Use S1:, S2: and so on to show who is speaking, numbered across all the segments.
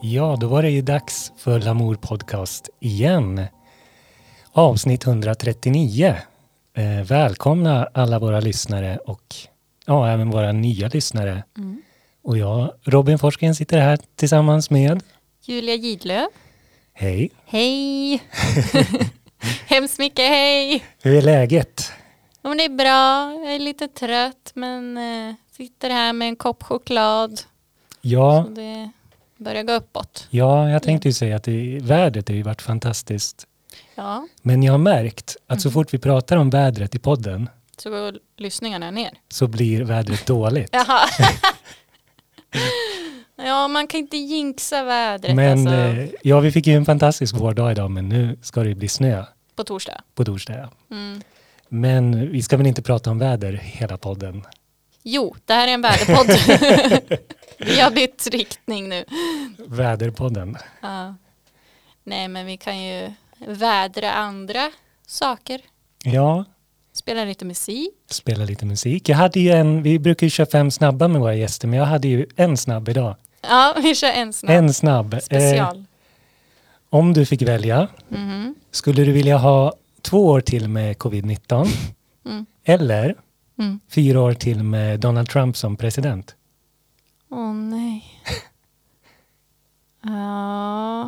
S1: Ja, då var det ju dags för Lamour Podcast igen. Avsnitt 139. Eh, välkomna alla våra lyssnare och ja, även våra nya lyssnare.
S2: Mm.
S1: Och jag, Robin Forsgren, sitter här tillsammans med...
S2: Julia Gidlöv.
S1: Hej!
S2: Hej! Hemskt mycket hej!
S1: Hur är läget?
S2: Ja, men det är bra, jag är lite trött men eh, sitter här med en kopp choklad.
S1: Ja,
S2: Så det börjar gå uppåt.
S1: ja jag tänkte ju säga att det, vädret har ju varit fantastiskt.
S2: Ja,
S1: Men jag har märkt att så fort vi pratar om vädret i podden
S2: så går lyssningarna ner.
S1: så blir vädret dåligt.
S2: Jaha. ja, man kan inte jinxa vädret
S1: Men
S2: alltså,
S1: eh, ja, vi fick ju en fantastisk vårdag idag, men nu ska det ju bli snö
S2: på torsdag.
S1: på torsdag. ja.
S2: Mm.
S1: Men vi ska väl inte prata om väder hela podden?
S2: Jo, det här är en väderpodd. Vi har bytt riktning nu.
S1: Väderpodden.
S2: Ja. Nej, men vi kan ju vädra andra saker.
S1: Ja,
S2: Spela lite musik.
S1: spela lite musik. Jag hade ju en, vi brukar ju köra fem snabba med våra gäster, men jag hade ju en snabb idag.
S2: Ja, vi kör en snabb.
S1: En snabb. Eh,
S2: Special.
S1: om du fick välja,
S2: Mhm.
S1: skulle du vilja ha två år till med covid-19
S2: Mm.
S1: eller
S2: Mm.
S1: fyra år till med Donald Trump som president?
S2: Åh nej. Ja.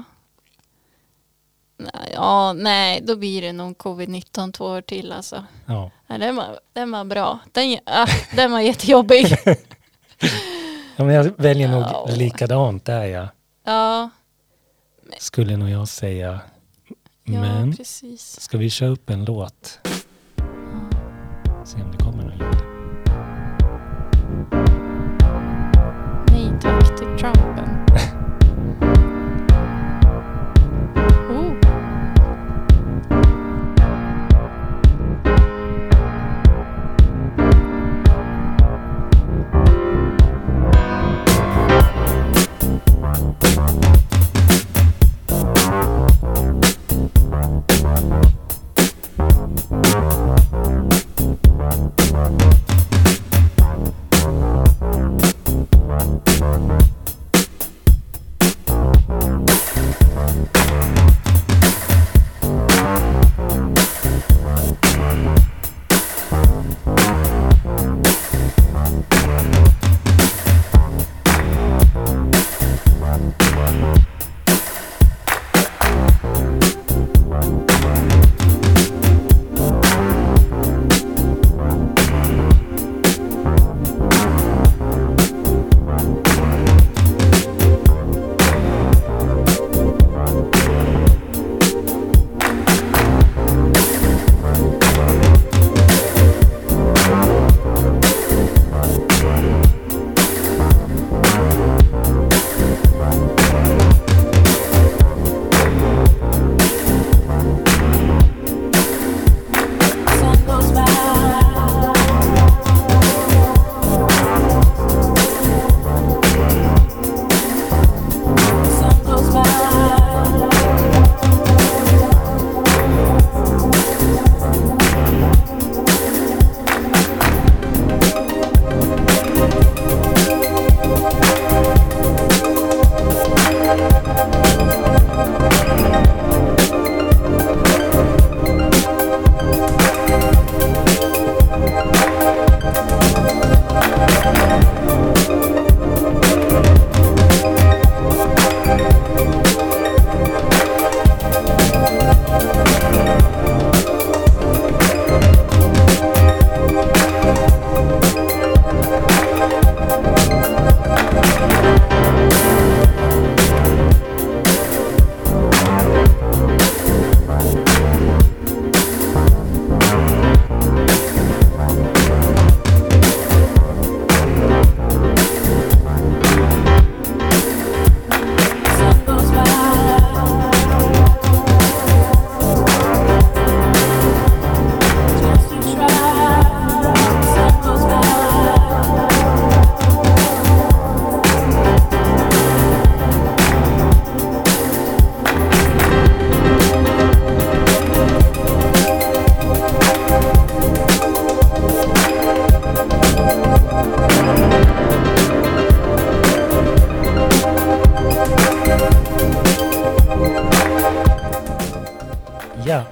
S2: Nej, Ja, nej, då blir det nog covid-19 två år till alltså.
S1: Ja,
S2: Nej, den, var, den var bra. Den, ah, den var jättejobbig.
S1: ja men jag väljer nog
S2: Ja.
S1: likadant där ja.
S2: Ja,
S1: skulle nog jag säga.
S2: ja
S1: Men
S2: precis.
S1: ska vi köra upp en låt? Se om det kommer någon ljud.
S2: Nej tack till Trumpen. oh.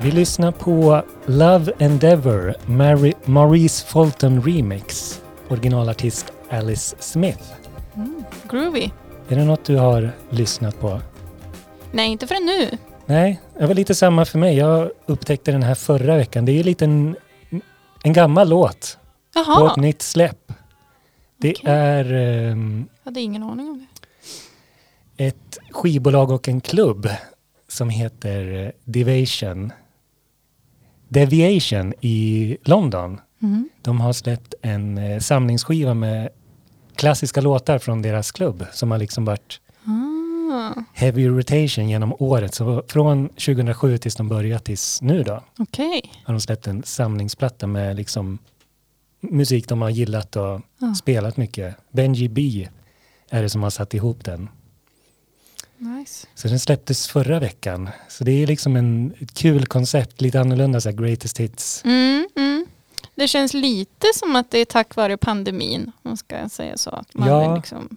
S1: lyssna på Love Endeavor, Mary, Maurice Fulton Remix, originalartist Alice Smith.
S2: Groovy.
S1: Är det något du har lyssnat på?
S2: Nej, inte förrän nu.
S1: Nej, det var lite samma för mig. Jag upptäckte den här förra veckan. Det är ju lite en, en gammal låt på
S2: Jaha,
S1: ett nytt släpp. Det
S2: Ah. Okej.
S1: är ehm,
S2: jag hade ingen aning om det.
S1: ett skivbolag och en klubb som heter eh, Deviation. Deviation i London.
S2: Mm.
S1: De har släppt en eh, samlingsskiva med klassiska låtar från deras klubb som har liksom varit
S2: Ah,
S1: heavy rotation genom året. Så från 2007 tills de började tills nu då
S2: Okej.
S1: har de släppt en samlingsplatta med liksom musik de har gillat och
S2: Ja.
S1: spelat mycket. Benji B är det som har satt ihop den.
S2: Nice.
S1: Så den släpptes förra veckan. Så det är liksom en, ett kul koncept, lite annorlunda så här greatest hits.
S2: Mm, mm. Det känns lite som att det är tack vare pandemin, om man ska säga så. Att man
S1: Ja.
S2: är liksom,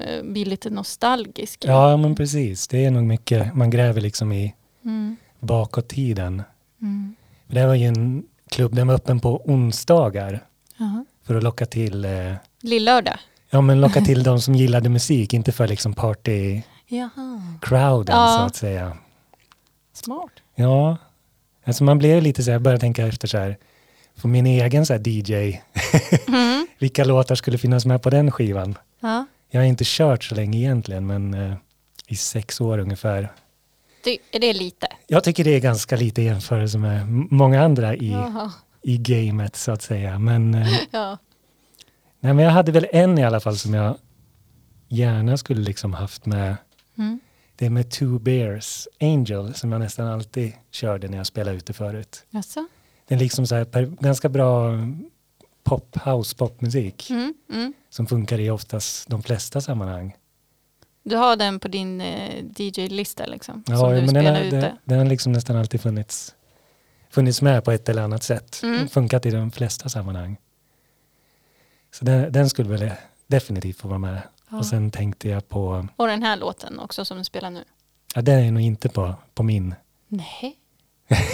S2: eh, blir lite nostalgisk.
S1: Ja, men precis. Det är nog mycket, man gräver liksom i
S2: Mm,
S1: bakåt tiden.
S2: mm.
S1: Det här var ju en klubb, den var öppen på onsdagar
S2: Jaha.
S1: för att locka till, eh,
S2: Lillördag.
S1: ja men locka till de som gillade musik, inte för liksom party-crowden
S2: Jaha. Ja.
S1: så att säga.
S2: Smart.
S1: Ja, alltså man blev lite så här, jag började tänka efter så här, för min egen så här DJ,
S2: Mm.
S1: vilka låtar skulle finnas med på den skivan?
S2: Ja.
S1: Jag har inte kört så länge egentligen, men eh, i sex år ungefär.
S2: Det, är det lite?
S1: Jag tycker det är ganska lite i jämförelse med m- många andra i,
S2: Jaha.
S1: i gamet så att säga. Men, eh,
S2: Ja.
S1: nej, men jag hade väl en i alla fall som jag gärna skulle liksom haft med.
S2: Mm.
S1: Det är med Two Bears Angel som jag nästan alltid körde när jag spelade ute förut.
S2: Jaså?
S1: Det är liksom så här per, ganska bra pop, house popmusik
S2: Mm. Mm.
S1: som funkar i oftast de flesta sammanhang.
S2: Du har den på din eh, DJ-lista liksom?
S1: Ja,
S2: som du
S1: men den,
S2: spelar
S1: har,
S2: ute?
S1: den, den har liksom nästan alltid funnits, funnits med på ett eller annat sätt.
S2: Mm.
S1: Funkat i de flesta sammanhang. Så den, den skulle väl definitivt få vara med.
S2: Ja.
S1: Och sen tänkte jag på,
S2: Och den här låten också som du spelar nu?
S1: ja, den är nog inte på, på min.
S2: Nej.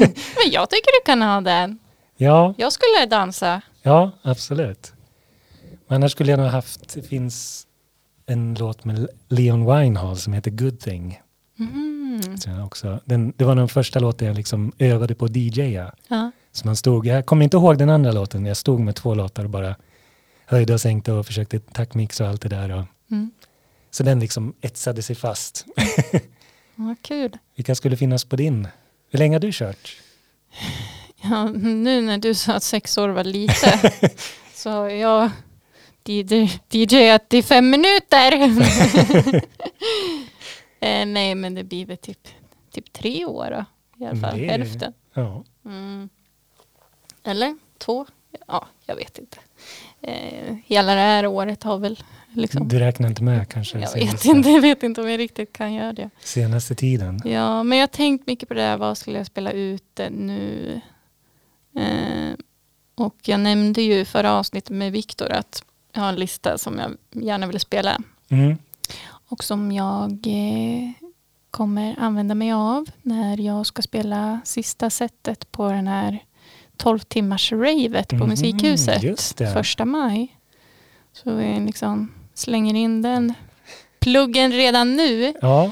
S2: men jag tycker du kan ha den.
S1: Ja,
S2: Jag skulle dansa.
S1: ja absolut. Men annars skulle jag nog haft, det finns en låt med Leon Winehall som heter Good Thing.
S2: Mm.
S1: Sen Också. Den, det var den första låten jag liksom övade på att DJa.
S2: Ja.
S1: Så man stod, jag kommer inte ihåg den andra låten, jag stod med två låtar och bara höjde och sänkte och försökte taktmix och allt det där. Och,
S2: Mm.
S1: så den liksom etsade sig fast.
S2: Vad kul.
S1: Vilka skulle finnas på din? Hur länge har du kört?
S2: Ja, nu när du sa att sex år var lite så har jag DJ, DJat i fem minuter. eh, nej, men det blir väl typ, typ tre år då, i alla
S1: Men
S2: fall.
S1: det är-
S2: Hälften.
S1: Ja.
S2: Mm. Eller två? Ja, jag vet inte. Eh, hela det här året har väl liksom...
S1: Du räknar inte med kanske?
S2: Jag vet,
S1: senaste-
S2: inte, jag vet inte om jag riktigt kan göra det.
S1: Senaste tiden?
S2: Ja, men jag har tänkt mycket på det här. Vad skulle jag spela ut nu? Eh, och jag nämnde ju i förra avsnittet med Viktor att jag har en lista som jag gärna vill spela
S1: Mm.
S2: och som jag eh, kommer använda mig av när jag ska spela sista setet på den här 12 timmars ravet på
S1: Mhm, just
S2: Musikhuset
S1: det.
S2: första maj. Så jag liksom slänger in den pluggen redan nu.
S1: Ja.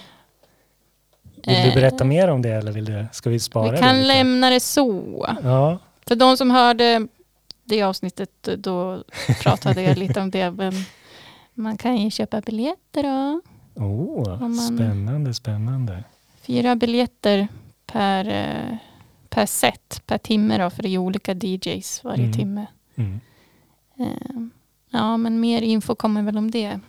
S1: Vill du
S2: Eh,
S1: berätta mer om det eller vill du, ska vi spara
S2: Vi
S1: det? liksom.
S2: kan
S1: lite?
S2: lämna det så.
S1: Ja,
S2: För de som hörde det avsnittet, då pratade jag lite om det. Men man kan ju köpa biljetter då.
S1: oh,
S2: Om man-
S1: spännande, spännande.
S2: Fyra biljetter per, eh, per set, per timme då, för det är ju olika DJs varje
S1: Mm.
S2: timme.
S1: Mm.
S2: Eh, Ja, men mer info kommer väl om det.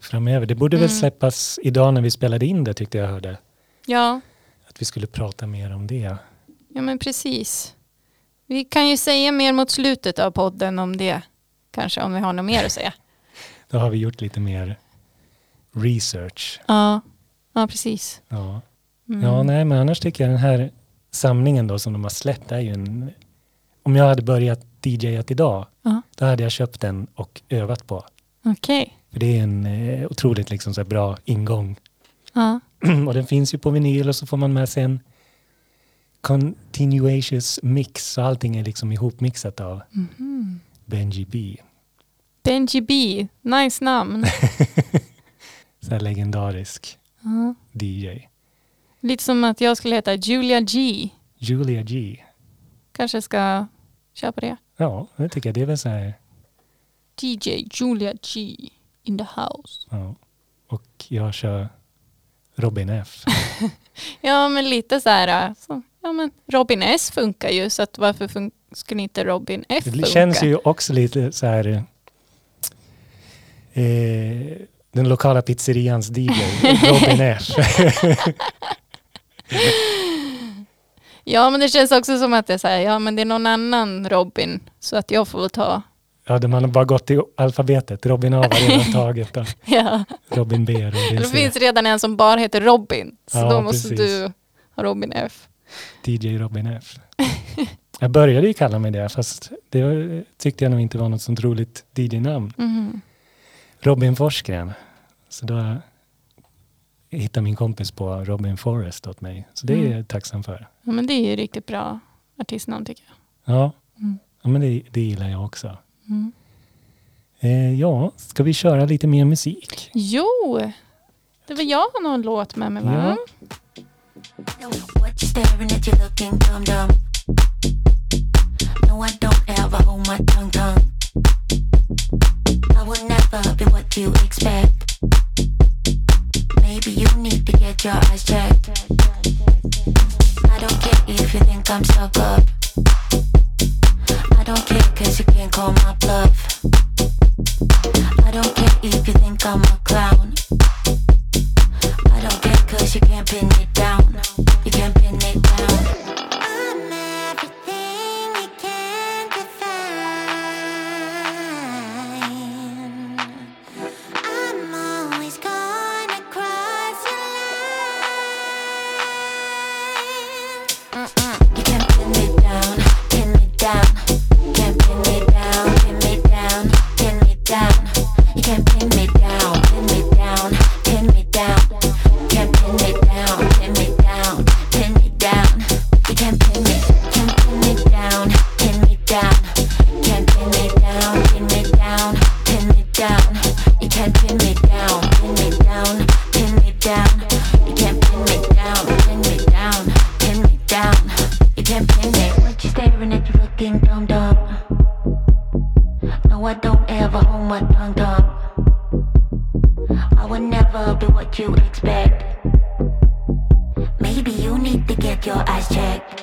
S1: Framöver, det borde väl
S2: Mm.
S1: släppas idag när vi spelade in det tyckte jag hörde.
S2: Ja,
S1: Att vi skulle prata mer om det.
S2: ja men precis. Vi kan ju säga mer mot slutet av podden om det. Kanske om vi har något mer att säga.
S1: Då har vi gjort lite mer research.
S2: Ja, ja precis.
S1: Ja.
S2: Mm.
S1: ja, nej, men annars tycker jag den här samlingen då som de har släppt är ju en... Om jag hade börjat DJat idag,
S2: Ja,
S1: då hade jag köpt den och övat på.
S2: Okej.
S1: För det är en eh, otroligt liksom så här bra ingång.
S2: Ja.
S1: och den finns ju på vinyl och så får man med sig en Continuous Mix, så allting är liksom ihopmixat av
S2: Mhm.
S1: Benji B.
S2: Benji B, nice namn.
S1: Så här legendarisk
S2: Ja.
S1: DJ.
S2: Lite som att jag skulle heta Julia G.
S1: Julia G.
S2: Kanske ska köpa det.
S1: Ja, det tycker jag. Det är väl så här,
S2: DJ Julia G in the house.
S1: ja. Och jag kör Robin F.
S2: Ja, men lite så här. äh, Så, ja, men Robin S funkar ju, så att varför fun- skulle inte Robin F funka?
S1: Det känns ju också lite så här... Eh, den lokala pizzerians DJ, Robin F.
S2: Ja, men det känns också som att det är så här, ja, men det är någon annan Robin, så att jag får väl ta.
S1: Ja, de har bara gått i alfabetet. Robin A var redan taget. Då.
S2: Ja.
S1: Robin B, Robin
S2: Det
S1: C,
S2: finns redan en som bara heter Robin, så
S1: Ja,
S2: då måste
S1: precis.
S2: du ha Robin F.
S1: DJ Robin F. Jag började ju kalla mig det, fast det tyckte jag nog inte var något sånt roligt DJ-namn.
S2: Mhm.
S1: Robin Forsgren. Så då hittade min kompis på Robin Forrest åt mig. Så det är
S2: Mm.
S1: jag tacksam för.
S2: Ja, men det är ju riktigt bra artistnamn tycker jag.
S1: Ja,
S2: Mm.
S1: ja men det, det gillar jag också.
S2: Mm.
S1: Eh, ja, ska vi köra lite mer musik?
S2: Jo, det var jag har någon låt med mig va?
S1: Ja.
S3: No, what you staring at? You looking dumb dumb. No, I don't ever hold my tongue tongue. I will never be what you expect. Maybe you need to get your eyes checked. I don't care if you think I'm stuck up. I don't care cause you can't call my bluff. I don't care if you think I'm a clown. I don't care cause you can't pin it down. You can't pin it down. I'm everything you can define. I'm always gonna cross your line. You can't pin me down, pin me down. Can't pin me down, pin me down, pin me down. You can't pin me down, pin me down, pin me down. Can't pin me down, pin me down, pin me down. You can't pin me, can't pin me down, pin me down. Can't pin me down, pin me down, pin me down. You can't pin me down, pin me down, pin me down. You can't pin me down, pin me down, pin me down. You can't pin me. What you staring at? You looking dumb dumb. No, I don't ever hold my tongue tongue. I would never be what you expect. Maybe you need to get your eyes checked.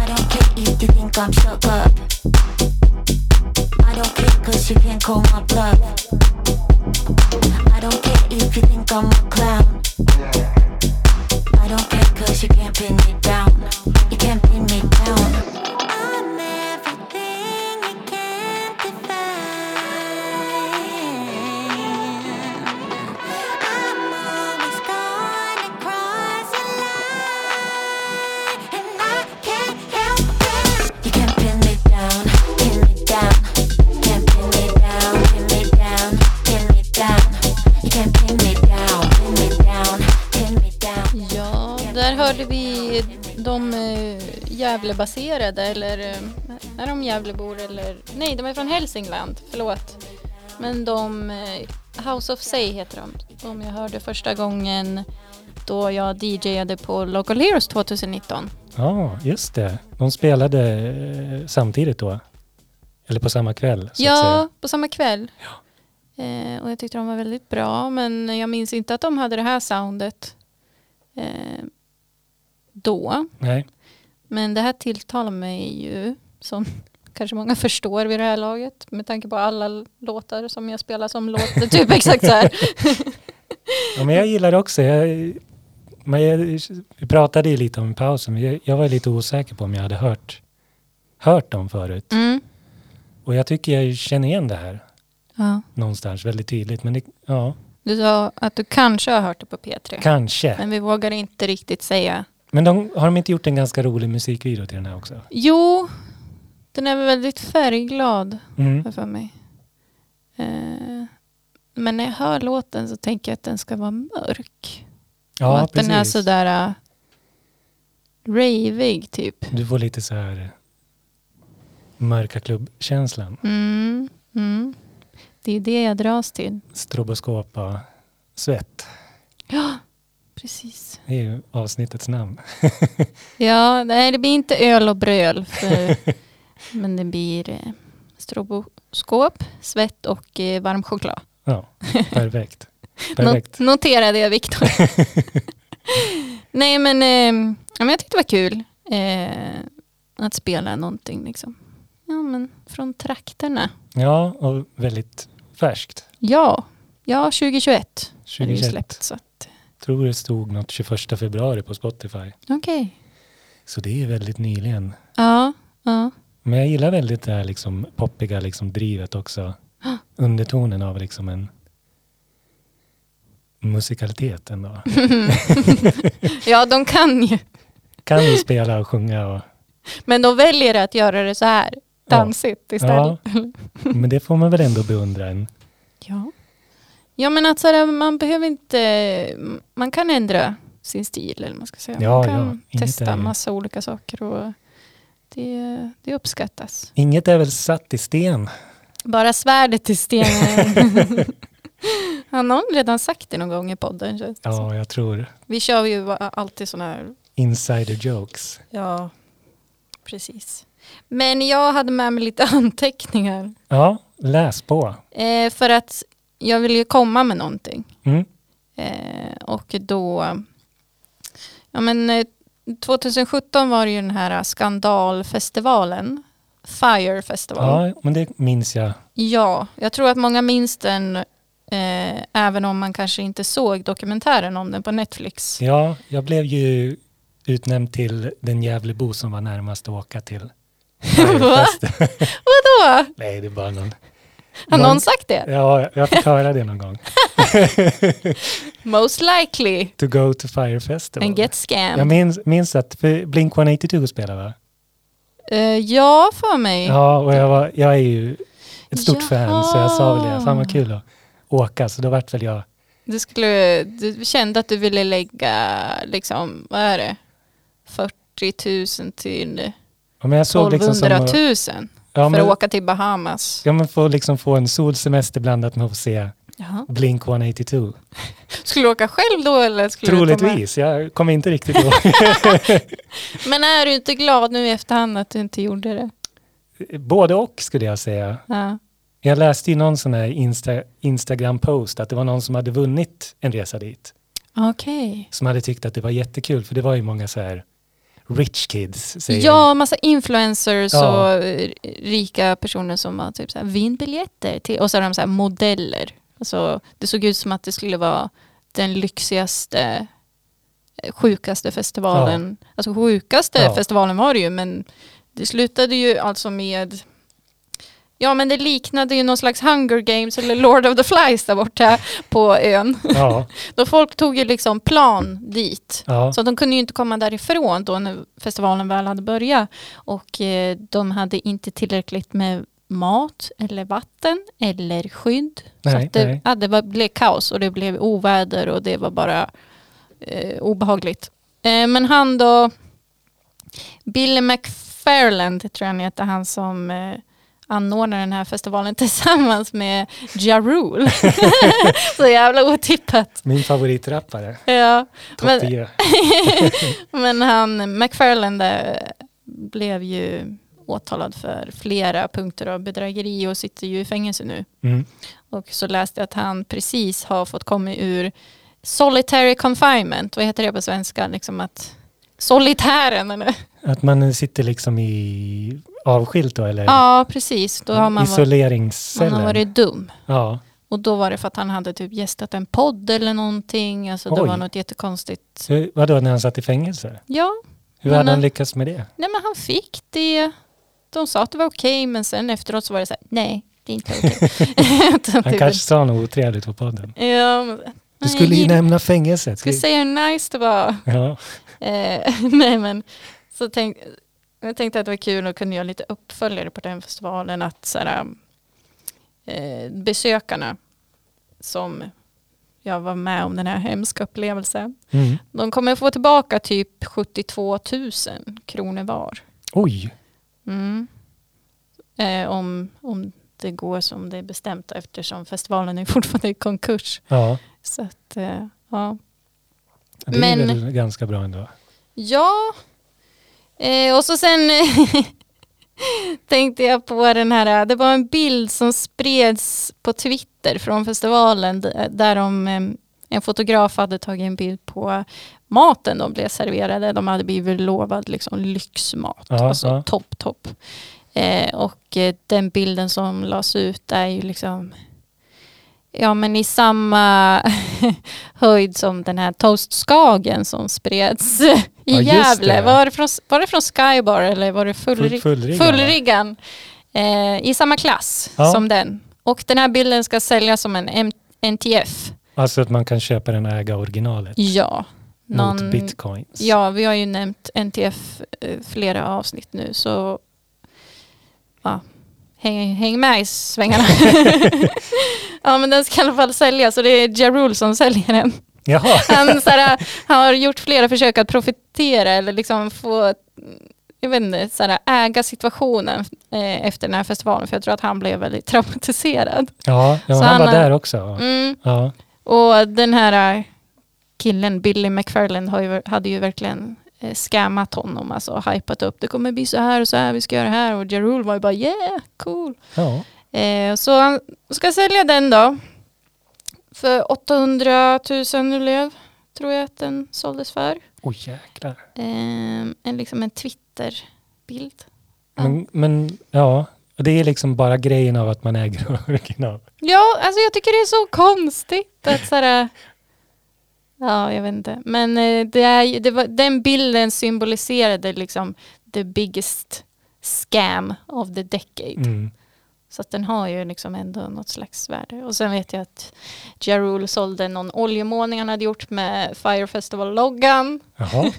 S3: I don't care if you think I'm stuck up. I don't care cause you can't call my bluff. I don't care if you think I'm a clown. I don't care cause you can't pin me down. You can't pin me down. I'm everything you can't define. I'm always gonna cross your line, and I can't help it. You can't pin me down, pin me down. Can't pin me down, pin me down, pin me down. You can't pin me down, pin me down, pin me down.
S2: Ja, där hörde vi de eh, Gävlebaserade, eller eh, är de Gävlebor eller? Nej, de är från Hälsingland, förlåt. Men de, eh, House of Say heter de, de jag hörde första gången då jag DJade på Local Heroes 2019.
S1: Ja, just det. De spelade eh, samtidigt då. Eller på samma kväll. Så att säga.
S2: Ja, på samma kväll. Eh, och jag tyckte de var väldigt bra, men jag minns inte att de hade det här soundet eh, då.
S1: Nej.
S2: Men det här tilltalar mig ju, som kanske många förstår vid det här laget, med tanke på alla l- låtar som jag spelar som låter typ exakt så här.
S1: Ja, men jag gillar det också. Jag, men jag, vi pratade ju lite om pausen. men Jag, jag var lite osäker på om jag hade hört, hört dem förut.
S2: Mm.
S1: Och jag tycker jag känner igen det här
S2: Ja.
S1: någonstans väldigt tydligt. Men det, ja,
S2: Du sa att du kanske har hört det på P3,
S1: kanske.
S2: men vi vågar inte riktigt säga.
S1: Men de, har de inte gjort en ganska rolig musikvideo till den här också?
S2: Jo, den är väl väldigt färgglad,
S1: Mm.
S2: har jag för mig. Eh, men när jag hör låten så tänker jag att den ska vara mörk. och
S1: Ja,
S2: att den är
S1: precis.
S2: sådär äh, Ravig typ.
S1: Du får lite så här mörka klubbkänslan.
S2: Mm, mm. Det är det jag dras till.
S1: Stroboskopa svett.
S2: Precis.
S1: Det är ju avsnittets namn.
S2: Ja, nej det blir inte öl och bröl. För, men det blir eh, stroboskop, svett och eh, varm choklad.
S1: Ja, perfekt. Perfekt.
S2: Not- notera det Viktor. nej men, eh, ja, men jag tyckte det var kul eh, att spela någonting liksom. Ja men från trakterna.
S1: Ja, och väldigt färskt.
S2: Ja, ja 2021 är det ju
S1: 2021.
S2: släppt. så att-
S1: Tror det stod något 21 februari på Spotify.
S2: Okej.
S1: Så det är väldigt nyligen.
S2: Ja, ja.
S1: Men jag gillar väldigt det här liksom poppiga liksom drivet också.
S2: Ah!
S1: Undertonen av liksom en musikalitet ändå.
S2: ja, de kan ju.
S1: Kan ju spela och sjunga och
S2: Men de väljer att göra det så här.
S1: Ja.
S2: Dansigt istället.
S1: Men det får man väl ändå beundra en.
S2: Ja. Ja men att så här, man behöver inte, man kan ändra sin stil eller vad man ska säga.
S1: Ja,
S2: man
S1: ja.
S2: kan
S1: Inget
S2: testa
S1: är ju-
S2: massa olika saker och det, det uppskattas.
S1: Inget är väl satt i sten.
S2: Bara svärdet i stenen. Han har redan sagt det någon gång i podden. känns det som.
S1: Ja, jag tror
S2: Vi kör ju alltid sådana här
S1: insider jokes.
S2: Ja, precis. Men jag hade med mig lite anteckningar.
S1: Ja, läs på.
S2: Eh, för att jag ville ju komma med någonting.
S1: Mm.
S2: Eh, och då... Ja men, eh, 2017 var det ju den här skandalfestivalen. Fire Festival. Ja.
S1: Ja, men det minns jag.
S2: jag tror att många minns den. Eh, även om man kanske inte såg dokumentären om den på Netflix.
S1: Ja, jag blev ju utnämnd till den Gävlebo som var närmast att åka till Firefest.
S2: Vadå?
S1: Nej, det är bara någon.
S2: Har
S1: någon-
S2: någon sagt det?
S1: Ja, jag fick höra det någon gång.
S2: Most likely.
S1: To go to Fire Festival.
S2: And get
S1: jag
S2: scammed.
S1: minns, minns att för Blink 182 spelade va?
S2: Eh, ja, för mig.
S1: Ja, och jag, var, jag är ju ett stort fan så jag sa väl
S2: Jaha.
S1: det, fan vad kul att åka. Så då vart väl jag,
S2: Du, skulle, du kände att du ville lägga, liksom, vad är det, 40 000 till
S1: ja, men jag såg
S2: 1200
S1: liksom som,
S2: 000
S1: att- ja,
S2: för
S1: men,
S2: att åka till Bahamas.
S1: ja, men få, liksom få en solsemester blandat med att se
S2: Jaha.
S1: Blink 182.
S2: Skulle du åka själv då eller? Skulle Du ta med-
S1: Troligtvis, jag kommer inte riktigt ihåg.
S2: Men är du inte glad nu i efterhand att du inte gjorde det?
S1: Både och skulle jag säga.
S2: Ja.
S1: Jag läste ju någon sån här Insta, Instagram-post att det var någon som hade vunnit en resa dit.
S2: Okej.
S1: Som hade tyckt att det var jättekul, för det var ju många så här rich kids. Säger
S2: Ja, massa influencers
S1: Ja.
S2: och eh, rika personer som var typ så här, vinn biljetter till, och så har de så här modeller. Alltså, det såg ut som att det skulle vara den lyxigaste, eh, sjukaste festivalen. Alltså sjukaste
S1: Ja.
S2: festivalen var det ju, men det slutade ju alltså med Ja men det liknade ju någon slags Hunger Games eller Lord of the Flies där borta på ön.
S1: Ja,
S2: Då folk tog ju liksom plan dit.
S1: ja,
S2: Så de kunde ju inte komma därifrån då när festivalen väl hade börjat. Och eh, de hade inte tillräckligt med mat eller vatten eller skydd. så
S1: Nej,
S2: att det,
S1: nej.
S2: ja, det var, blev kaos och det blev oväder och det var bara eh, obehagligt. Eh, men han då, Billy McFarland tror jag han heter, han som eh, anordnar den här festivalen tillsammans med Ja Rule. så jävla otippat.
S1: min favoritrappare.
S2: Ja.
S1: Topp
S2: Men-
S1: 10.
S2: Men han, McFarland eh, blev ju åtalad för flera punkter av bedrägeri och sitter ju i fängelse nu.
S1: Mm.
S2: Och så läste jag att han precis har fått komma ur solitary confinement. Vad heter det på svenska? Liksom att solitären eller?
S1: Att man sitter liksom i avskilt då, eller
S2: Ja, precis. Då har man varit, man
S1: isoleringscellen.
S2: har varit dum.
S1: Ja,
S2: Och då var det för att han hade typ gästat en podd eller någonting. Alltså det
S1: Oj.
S2: var något jättekonstigt.
S1: så vadå när han satt i fängelse?
S2: Ja,
S1: Hur
S2: Men
S1: hade han
S2: han-
S1: lyckats med det?
S2: Nej men han fick det. De sa att det var okej men sen efteråt så var det så här, nej det är inte okej. Utan
S1: Han
S2: typ-
S1: kanske sa något otrevligt på podden.
S2: Ja, men-
S1: Du
S2: Nej,
S1: skulle
S2: jag
S1: ju
S2: gillar-
S1: nämna fängelset.
S2: skulle säga hur nice det var.
S1: Ja.
S2: Eh, nej men, så tänk, jag tänkte att det var kul att kunna göra lite uppföljare på den festivalen. um, Att så här, eh, besökarna som jag var med om den här hemska upplevelsen.
S1: Mm.
S2: De kommer få tillbaka typ 72 000 kronor var.
S1: Oj,
S2: Mm. Eh, om, om det går som det är bestämt eftersom festivalen är fortfarande i konkurs.
S1: ja.
S2: Så att, eh, ja.
S1: Det
S2: Men-
S1: är väl ganska bra ändå.
S2: Ja, eh, och så sen tänkte jag på den här, det var en bild som spreds på Twitter från festivalen d- där de, eh, en fotograf hade tagit en bild på maten de blev serverade. De hade blivit lovad liksom lyxmat,
S1: Ja,
S2: alltså
S1: ja.
S2: topp, topp. Eh, och eh, den bilden som lades ut är ju liksom Ja men i samma höjd som den här toastskagen som spreds i
S1: Ja, just det.
S2: Gävle. Var det, från, var det från Skybar eller var det
S1: Full,
S2: fullri-
S1: fullrigga, va?
S2: Fullriggan? Eh, I samma klass
S1: Ja.
S2: som den. Och den här bilden ska säljas som en M- NTF.
S1: Alltså att man kan köpa den och äga originalet
S2: Ja.
S1: mot
S2: Någon-
S1: bitcoins.
S2: Ja, vi har ju nämnt NTF eh, flera avsnitt nu så ja, häng, häng med i svängarna. ja, men den ska i alla fall säljas och det är Ja Rule som säljer den.
S1: Jaha,
S2: Han så här, har gjort flera försök att profitera eller liksom få jag vet inte, så här, äga situationen eh, efter den här festivalen för jag tror att han blev väldigt traumatiserad.
S1: ja, ja
S2: Så
S1: han
S2: han
S1: var
S2: har-
S1: där också.
S2: Mm.
S1: Ja.
S2: Och den här eh, killen, Billy McFarland, har ju, hade ju verkligen eh, scammat honom, alltså hypat upp. Det kommer bli så här och så här, vi ska göra det här. Och Jarul var ju bara yeah, cool.
S1: Ja.
S2: Eh, så han ska sälja den då. För 800 000 löv tror jag att den såldes för.
S1: Oj jäklar.
S2: Eh, en, liksom en Twitter-bild. Ja.
S1: Men, men ja, och det är liksom bara grejen av att man äger original.
S2: Ja, alltså jag tycker det är så konstigt att så här, Ja, jag vet inte. Men eh, det är, ju- det var, den bilden symboliserade liksom the biggest scam of the decade.
S1: Mm.
S2: Så att den har ju liksom ändå något slags värde. Och sen vet jag att Ja Rule sålde någon oljemålning han hade gjort med Fire Festival-loggan.
S1: Jaha,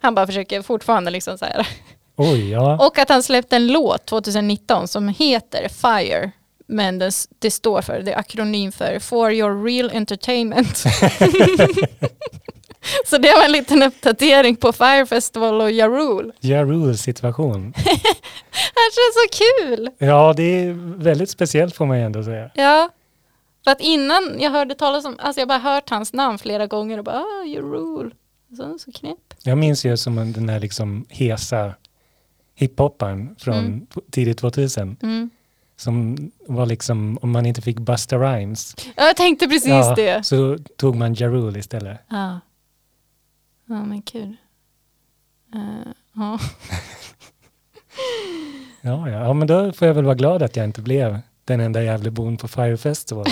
S2: Han bara försöker fortfarande liksom så här.
S1: oj ja.
S2: Och att han släppte en låt 2019 som heter Fire. Men det, det står för, det är akronym för For Your Real Entertainment. Så det var en liten uppdatering på Fire Festival och Jarul.
S1: Ja Rule situation.
S2: Det känns så kul!
S1: Ja, det är väldigt speciellt får man ju ändå säga.
S2: Ja. För att innan jag hörde talas om, alltså jag har bara hört hans namn flera gånger och bara ah, Jarul. Så, så knäpp.
S1: Jag minns ju som en- den här liksom hesa hiphopparen från
S2: Mm.
S1: tidigt 2000
S2: Mm.
S1: som var liksom, om man inte fick Busta Rhymes
S2: Ja, jag tänkte precis
S1: ja,
S2: det.
S1: så tog man Ja Rule istället.
S2: Ja. Ja men kul. Eh, ja.
S1: Ja, ja. ja, men då får jag väl vara glad att jag inte blev den enda Gävlebon på Fire Festival.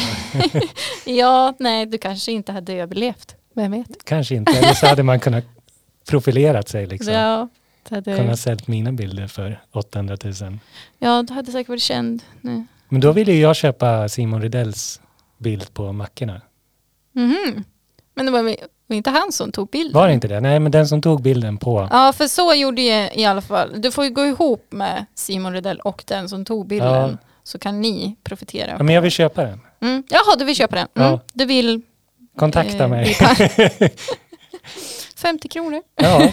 S2: Ja, nej, du kanske inte hade överlevt. Vem vet?
S1: Kanske inte, eller så hade man kunnat profilerat sig liksom.
S2: Ja, det hade,
S1: Kunnat sälja mina bilder för 800 000.
S2: ja, du hade säkert varit känd nu.
S1: Men då ville ju jag köpa Simon Rydells bild på mackorna.
S2: Mhm. Men det var väl inte han som tog bilden?
S1: Var det inte det? Nej, men den som tog bilden på.
S2: Ja, för så gjorde jag i alla fall. Du får ju gå ihop med Simon Rydell och den som tog bilden.
S1: Ja.
S2: Så kan ni profitera.
S1: Ja, men jag vill köpa den.
S2: Mm. Jaha, du vill köpa den? Mm.
S1: Ja.
S2: Du vill...
S1: Kontakta
S2: eh,
S1: mig.
S2: bli pa- 50 kronor.
S1: Ja.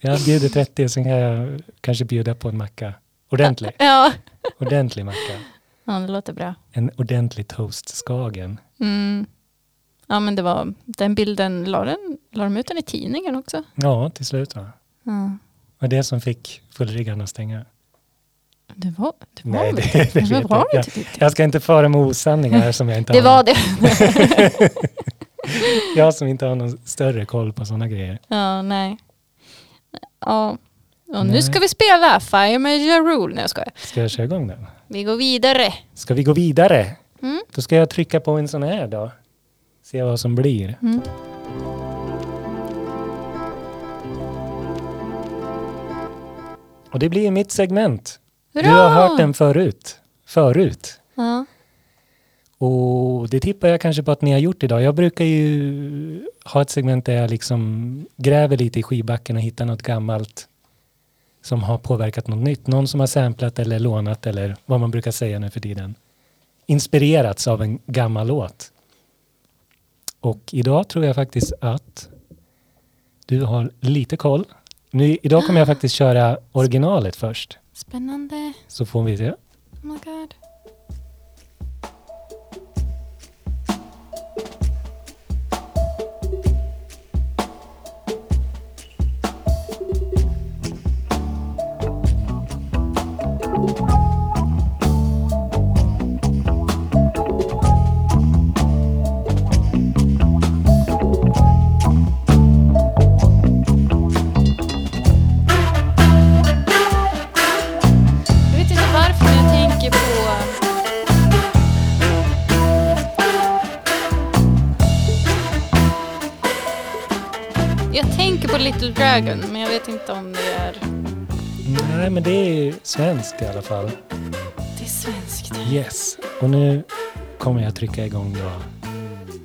S1: Jag bjuder 30 sen kan jag kanske bjuda på en macka. Ordentlig,
S2: Ja.
S1: ordentlig macka.
S2: ja, det låter bra.
S1: En ordentlig toastskagen.
S2: Mm. Ja, men det var den bilden. La, den, la de ut den i tidningen också?
S1: Ja, till slut va?
S2: Ja.
S1: Och det som fick fullriggarna att stänga.
S2: Det var det. Var
S1: Nej,
S2: väl-
S1: det, det vet
S2: det
S1: jag
S2: var
S1: inte.
S2: inte riktigt.
S1: Jag ska inte föra med osanningar här som jag inte
S2: Det
S1: har.
S2: var det.
S1: Jag som inte har någon större koll på sådana grejer.
S2: Ja, nej. Ja. Och
S1: Nej.
S2: nu ska vi spela Fire med Ja Rule. Nej, jag skojar.
S1: Ska jag köra igång den?
S2: Vi går vidare.
S1: Ska vi gå vidare?
S2: Mm.
S1: Då ska jag trycka på en sån här då. Se vad som blir.
S2: Mm.
S1: Och det blir mitt segment.
S2: Hurra!
S1: Du har hört den förut. Förut.
S2: Ja.
S1: Och det tippar jag kanske på att ni har gjort idag. Jag brukar ju ha ett segment där jag liksom gräver lite i skivbacken och hittar något gammalt som har påverkat något nytt. Någon som har samplat eller lånat eller vad man brukar säga nu för tiden. Inspirerats av en gammal låt. Och idag tror jag faktiskt att du har lite koll. Nu, idag kommer jag faktiskt köra originalet först,
S2: Spännande.
S1: så får vi se.
S2: Oh my god. Jag vet inte varför men jag tänker på... Jag tänker på Little Dragon men jag vet inte om det är...
S1: Nej, men det är ju svenskt i alla fall.
S2: Det är svenskt.
S1: Yes. Och nu kommer jag trycka igång då.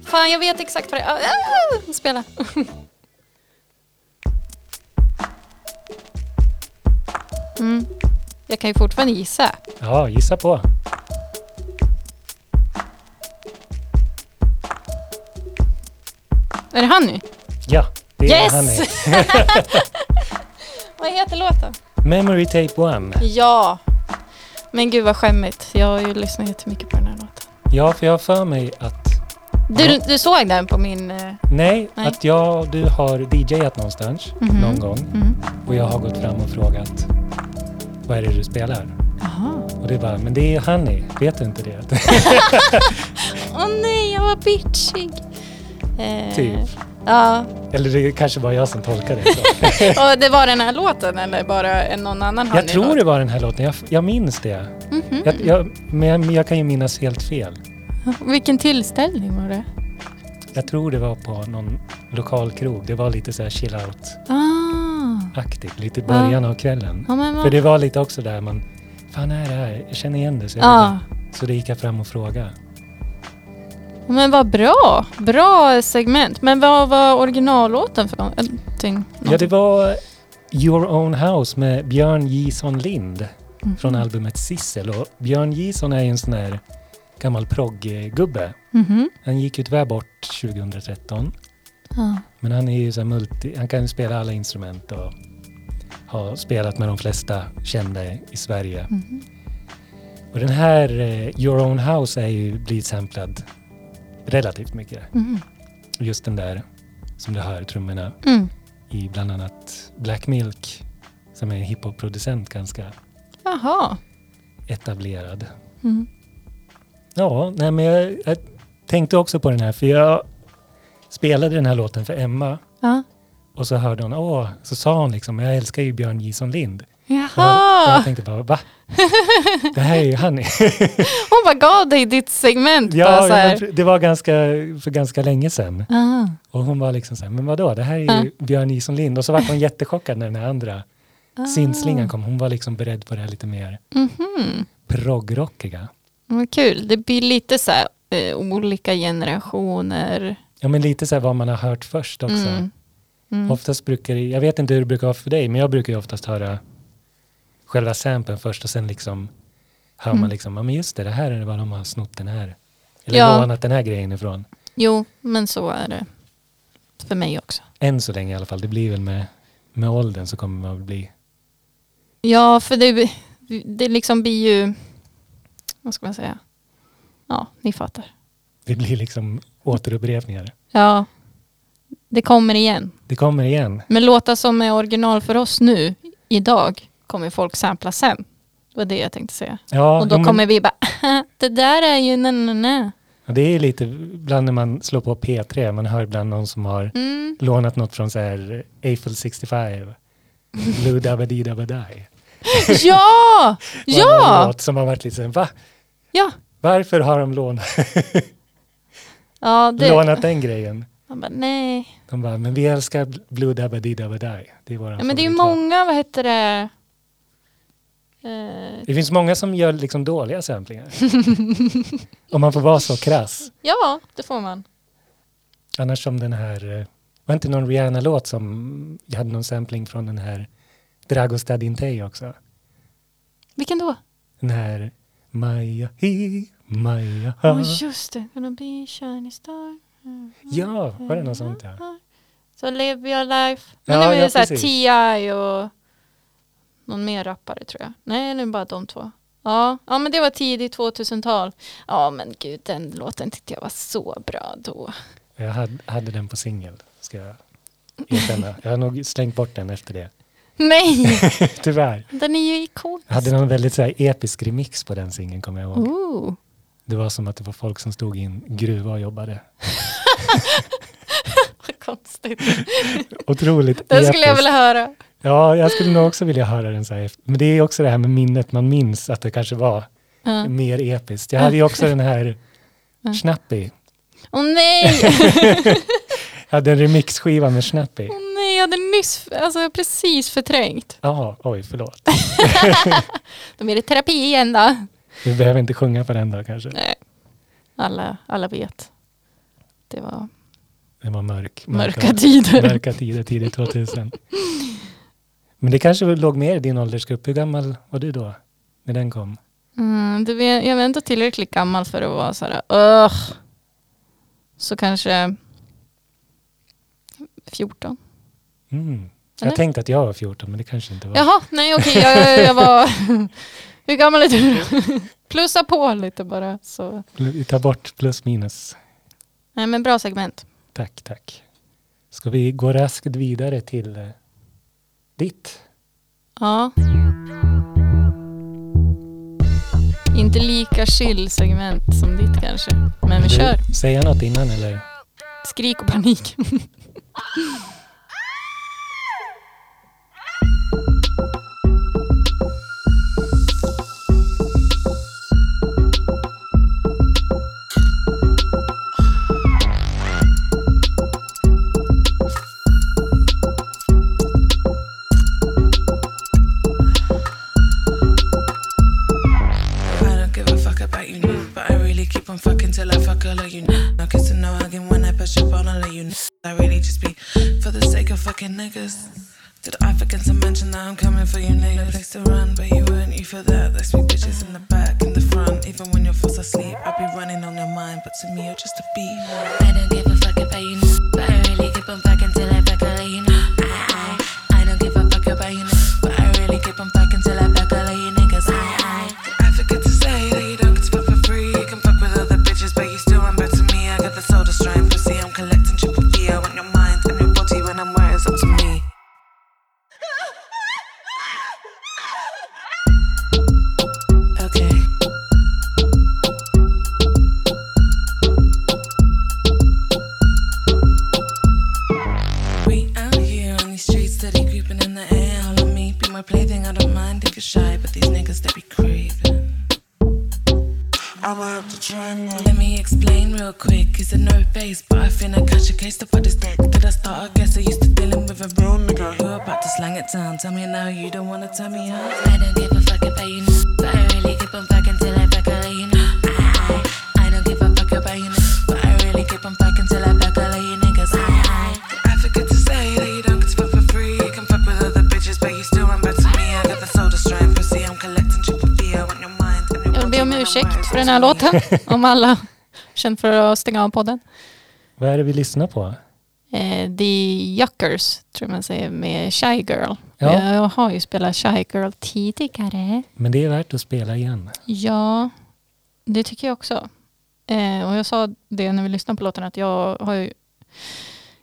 S2: Fan jag vet exakt vad det är. Ah, ah, spela. Mm. Jag kan ju fortfarande gissa.
S1: Ja, gissa på.
S2: Är det han nu?
S1: Ja, det är
S2: Yes!
S1: han är.
S2: Vad heter låten?
S1: Memory Tape One.
S2: Ja. Men gud vad skämmigt. Jag har ju lyssnat jättemycket på den här låten.
S1: Ja, för jag har för mig att...
S2: Du, du såg den på min... eh,
S1: Nej,
S2: Nej.
S1: att jag du har DJat någonstans
S2: Mhm.
S1: någon gång
S2: Mm.
S1: och jag har gått fram och frågat vad är det du spelar?
S2: Jaha.
S1: Och det är bara, men det är ju Honey, vet du inte det?
S2: Åh nej, jag var bitchig. Eh,
S1: typ.
S2: Ja.
S1: Eller det är kanske bara jag som tolkar det så.
S2: Och det var den här låten eller bara en någon annan
S1: Jag tror det var den här låten, jag, jag minns det.
S2: mm
S1: Jag, jag, men jag, men jag kan ju minnas helt fel.
S2: Vilken tillställning var det?
S1: Jag tror det var på någon lokal krog. Det var lite så här chill out-aktigt,
S2: Ah.
S1: lite i början av kvällen.
S2: Ja, men vad...
S1: För det var lite också där man, fan är det här? Jag känner igen det. Så, jag
S2: Ja.
S1: ville- så det gick jag fram och frågade.
S2: Men vad bra! Bra segment. Men vad var originallåten för någonting?
S1: Ja, det var Your Own House med Björn Jison Lind
S2: Mhm.
S1: från albumet Sissel. Och Björn Jison är ju en sån här gammal progggubbe.
S2: Mhm.
S1: Han gick ju tyvärr bort 2013.
S2: Ja.
S1: Men han är ju så här multi, han kan ju spela alla instrument och har spelat med de flesta kända i Sverige.
S2: Mhm.
S1: Och den här eh, Your Own House är ju blivit samplad relativt mycket.
S2: Mhm.
S1: Och Just den där som du hör trummorna
S2: Mm.
S1: i bland annat Black Milk som är en hiphop-producent ganska
S2: Jaha.
S1: etablerad.
S2: Mm.
S1: Ja, nej men jag, jag tänkte också på den här för jag spelade den här låten för Emma
S2: Ja.
S1: och så hörde hon, åh, så sa hon liksom, jag älskar ju Björn Jison Lind. Och jag, och jag
S2: Jaha!
S1: tänkte bara, va? Det här är ju han.
S2: Hon bara gav dig ditt segment. bara
S1: Ja,
S2: så
S1: ja,
S2: här.
S1: men det var ganska, för ganska länge sedan.
S2: Ah.
S1: Och hon var liksom så här, men vadå, det här är ju Björn Jison Lind. Och så var hon jättechockad när den här andra
S2: Ah.
S1: syntslingan kom. Hon var liksom beredd på det här lite mer
S2: Mhm.
S1: proggrockiga.
S2: Vad kul. Det blir lite så här eh, olika generationer.
S1: Ja, men lite så här vad man har hört först också.
S2: Mm. Mm.
S1: Oftast brukar det, jag vet inte hur det brukar vara för dig, men jag brukar ju oftast höra själva samplen först och sen liksom hör
S2: Mm.
S1: man liksom, ja men just det, det här är vad de har snott den här. Eller
S2: Ja.
S1: lånat den här grejen ifrån.
S2: Jo, men så är det. För mig också.
S1: Än så länge i alla fall, det blir väl med, med åldern så kommer man väl bli,
S2: Ja, för det, det liksom blir ju... Vad ska man säga? Ja, ni fattar.
S1: det blir liksom återupprepningar.
S2: Ja, det kommer igen.
S1: Det kommer igen.
S2: Men låtar som är original för oss nu, idag, kommer folk sampla sen. Det var det jag tänkte säga.
S1: Ja,
S2: Och då
S1: jo, men-
S2: kommer vi bara, det där är ju na na na.
S1: ja, det är lite, ibland när man slår på P3, man hör ibland någon som har
S2: Mm.
S1: lånat något från så här Eiffel 65, Blue Dabba Dee Dabba Die.
S2: Ja!
S1: Det var någon
S2: Ja!
S1: Låt som har varit lite så här, va?
S2: Ja!
S1: Varför har de lånat,
S2: Ja, det...
S1: lånat den grejen?
S2: Man bara, nej.
S1: De bara, men vi älskar Blue Dabba Dee Dabba Die. Det är våran
S2: Ja, men det är ju
S1: favoritlåt.
S2: många, vad heter det? Eh,
S1: Det finns många som gör liksom dåliga samplingar. Om man får vara så krass.
S2: ja, det får man.
S1: Annars som den här, eh, var inte någon Rihanna-låt som jag hade någon sampling från den här Dragostad Intei också.
S2: Vilken då?
S1: Den här Maja hi, Maja
S2: Åh
S1: ha.
S2: Oh, just det, gonna be a shiny star.
S1: Ja, var det något sånt där?
S2: Så live your life. Men
S1: Ja,
S2: det var ju
S1: ja,
S2: såhär
S1: precis.
S2: T.I. och någon mer rappare tror jag. Nej, det är bara de två. Ja, ja men det var tidigt 2000-tal. Ja, men gud, den låten tyckte jag var så bra då.
S1: Jag hade, hade den på singel, ska jag erkänna. Jag har nog slängt bort den efter det.
S2: Nej,
S1: Tyvärr.
S2: den är ju ikonisk.
S1: Jag hade någon väldigt så här episk remix på den singeln, kommer jag ihåg.
S2: Ooh.
S1: Det var som att det var folk som stod i en gruva och jobbade.
S2: Vad konstigt.
S1: Otroligt
S2: Den skulle jag vilja höra.
S1: Ja, jag skulle nog också vilja höra den så här. efter- Men det är också det här med minnet, man minns att det kanske var
S2: Ja.
S1: mer episkt. Jag hade ju också den här Snappy.
S2: Åh nej,
S1: Jag hade en remixskiva med Snappy.
S2: åh nej, jag hade nyss, alltså precis förträngt.
S1: Ja, oj, förlåt.
S2: Då blir det terapi igen då.
S1: Vi behöver inte sjunga på den då kanske.
S2: Nej, alla, alla vet. Det var
S1: Det var mörk.
S2: mörka tider.
S1: Mörka tider, tidigt 2000. Men det kanske väl låg mer i din åldersgrupp. Hur gammal var du då? När den kom?
S2: Mm, det var, jag var ändå tillräckligt gammal för att vara så här, "Ugh." Så kanske 14.
S1: Mm.
S2: Eller?
S1: Jag tänkte att jag var 14, men det kanske inte var.
S2: Jaha, nej okej, jag, jag var... Hur gammal är du då? Plussa på lite bara. Så.
S1: Vi tar bort plus minus.
S2: Nej men bra segment.
S1: Tack, tack. Ska vi gå raskt vidare till eh, ditt?
S2: Ja. Inte lika chill segment som ditt kanske. Men vi
S1: Vill du
S2: kör.
S1: Säga något innan eller?
S2: Skrik och panik.
S4: I don't give a fuck about you, now, but I really keep on fucking till I fuck all of you. now. No kissing, no hugging when I push up on all of you. now. I really just be for the sake of fucking niggas. Did I forget to mention that I'm coming for you, niggas? No place to run, but you weren't you for that. They speak bitches in the back, in the front. Even when you're fast asleep, I be running on your mind, but to me you're just a beat.
S5: I don't give a fuck about you, n- but I really keep on fucking till I fuck all of you. n- I, I, I don't give a fuck about you, n- but I really keep on fucking till I fuck all of you niggas. I, I.
S4: I forget to say that you don't get to fuck for free. You can fuck with other bitches, but you still run back to me. I got the soul to strain pussy. I'm collecting triple B. I want your mind and your body when I'm where it's up to me. Okay. We out here on these streets, steady creeping in the air. All of me, be my plaything. I don't mind if you're shy, but these niggas they be craving. I'm up to triangle. Let me explain real quick. It's a no face, but I finna catch a case to fuck this dick. Did I start? I guess I used to dealing with a real nigga. You're about to slang it down. Tell me now, you don't wanna tell me how.
S5: I don't give a fuck about you, n- but I really keep on fucking till I fuck all of you. n- I, I, I don't give a fuck about you, n- but I really keep on fucking till I fuck all of you niggas. I, I.
S4: I forget to say that you don't get to fuck for free. You can fuck with other bitches, but you still run back to me. I got the soul to strain pussy. I'm collecting triple D. I want your mind and your
S2: Jag vill be om
S4: body when I'm
S2: ursäkt för
S4: where
S2: den
S4: it's
S2: här
S4: up to me.
S2: låten. Om alla känner för att stänga av podden.
S1: Vad är det vi lyssnar på?
S2: Eh, The Yuckers tror jag man säger med Shy Girl.
S1: Ja.
S2: Jag har ju spelat Shy Girl tidigare.
S1: Men det är värt att spela igen.
S2: Ja, det tycker jag också. Eh, och jag sa det när vi lyssnade på låten att jag har ju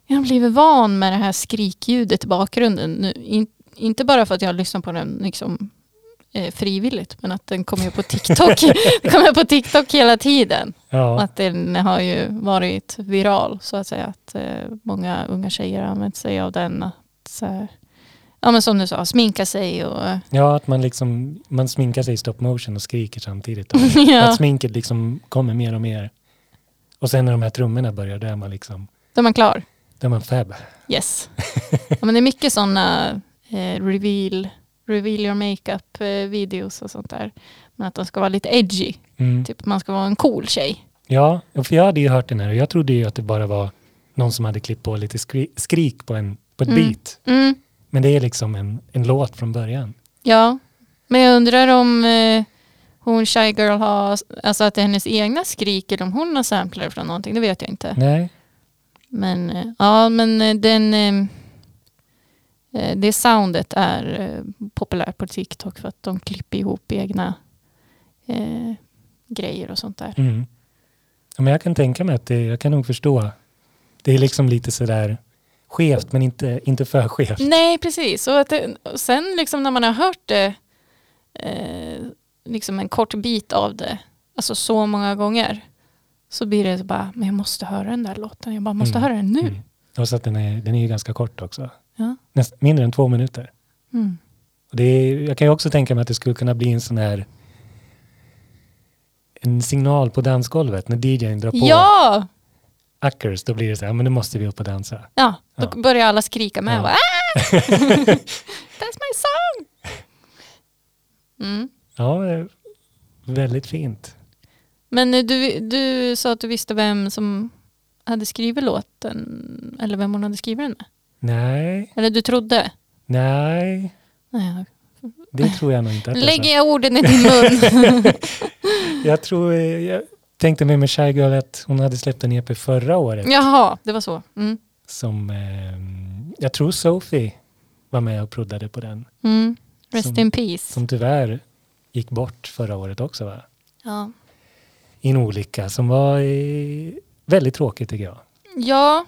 S2: jag har blivit van med det här skrikljudet i bakgrunden. Nu, in, inte bara för att jag lyssnar på den liksom, eh, frivilligt, men att den kommer ju på TikTok, den kommer på TikTok hela tiden. Och
S1: Ja,
S2: att den har ju varit viral så att säga. Att eh, många unga tjejer har använt sig av den. Att, så här, ja men som du sa, sminka sig och... eh,
S1: ja att man, liksom, man sminkar sig i stop motion och skriker samtidigt. Då. Att
S2: ja,
S1: sminket liksom kommer mer och mer. Och sen när de här trummorna börjar, då är man liksom,
S2: då är man klar.
S1: då är man fab.
S2: Yes. ja, men det är mycket sådana eh, reveal, reveal your makeup eh, videos och sånt där. Men att de ska vara lite edgy.
S1: Mm.
S2: Typ man ska vara en cool tjej.
S1: Ja, för jag hade ju hört den här och jag trodde ju att det bara var någon som hade klippt på lite skri- skrik på, en, på ett
S2: Mm.
S1: beat.
S2: Mm,
S1: Men det är liksom en, en låt från början.
S2: ja. Men jag undrar om eh, hon Shy Girl har, alltså att det är hennes egna skrik eller om hon har samplar från någonting. Det vet jag inte.
S1: Nej,
S2: Men eh, ja, men eh, den, eh, eh, det soundet är eh, populärt på TikTok för att de klipper ihop egna eh, grejer och sånt där.
S1: Mm. Ja, men jag kan tänka mig att det, jag kan nog förstå. Det är liksom lite sådär skevt men inte, inte för skevt.
S2: Nej, precis. Och, att det, och sen liksom när man har hört det, eh, liksom en kort bit av det, alltså så många gånger, så blir det så bara, men jag måste höra den där låten, jag bara måste
S1: Mm.
S2: höra den nu.
S1: Mm. Och så att den är, den är ju ganska kort också.
S2: Ja.
S1: Näst, mindre än två minuter.
S2: Mm.
S1: Och det är, jag kan ju också tänka mig att det skulle kunna bli en sån här en signal på dansgolvet när DJn drar på
S2: Ja!
S1: Ackers, då blir det så här, "Ja, men nu måste vi upp och dansa.
S2: Ja, då
S1: Ja.
S2: börjar alla skrika med.
S1: Ja.
S2: Ja. Bara, "Ah! That's my song! Mm.
S1: Ja, eh, väldigt fint.
S2: Men eh, du, du sa att du visste vem som hade skrivit låten, eller vem hon hade skrivit den med.
S1: Nej,
S2: Eller du trodde?
S1: nej,
S2: Nej,
S1: det tror jag nog inte. Att
S2: Nu
S1: jag sa.
S2: lägger jag orden
S1: alltså.
S2: i din mun.
S1: Jag tror, eh, jag tänkte med mig Shy Girl att hon hade släppt en EP förra året.
S2: Jaha, det var så. Mm.
S1: Som, eh, jag tror Sophie var med och proddade på den.
S2: Mm. Rest
S1: Som-
S2: in peace.
S1: Som tyvärr gick bort förra året också va?
S2: Ja.
S1: I en olycka som var eh, väldigt tråkigt tycker jag.
S2: ja.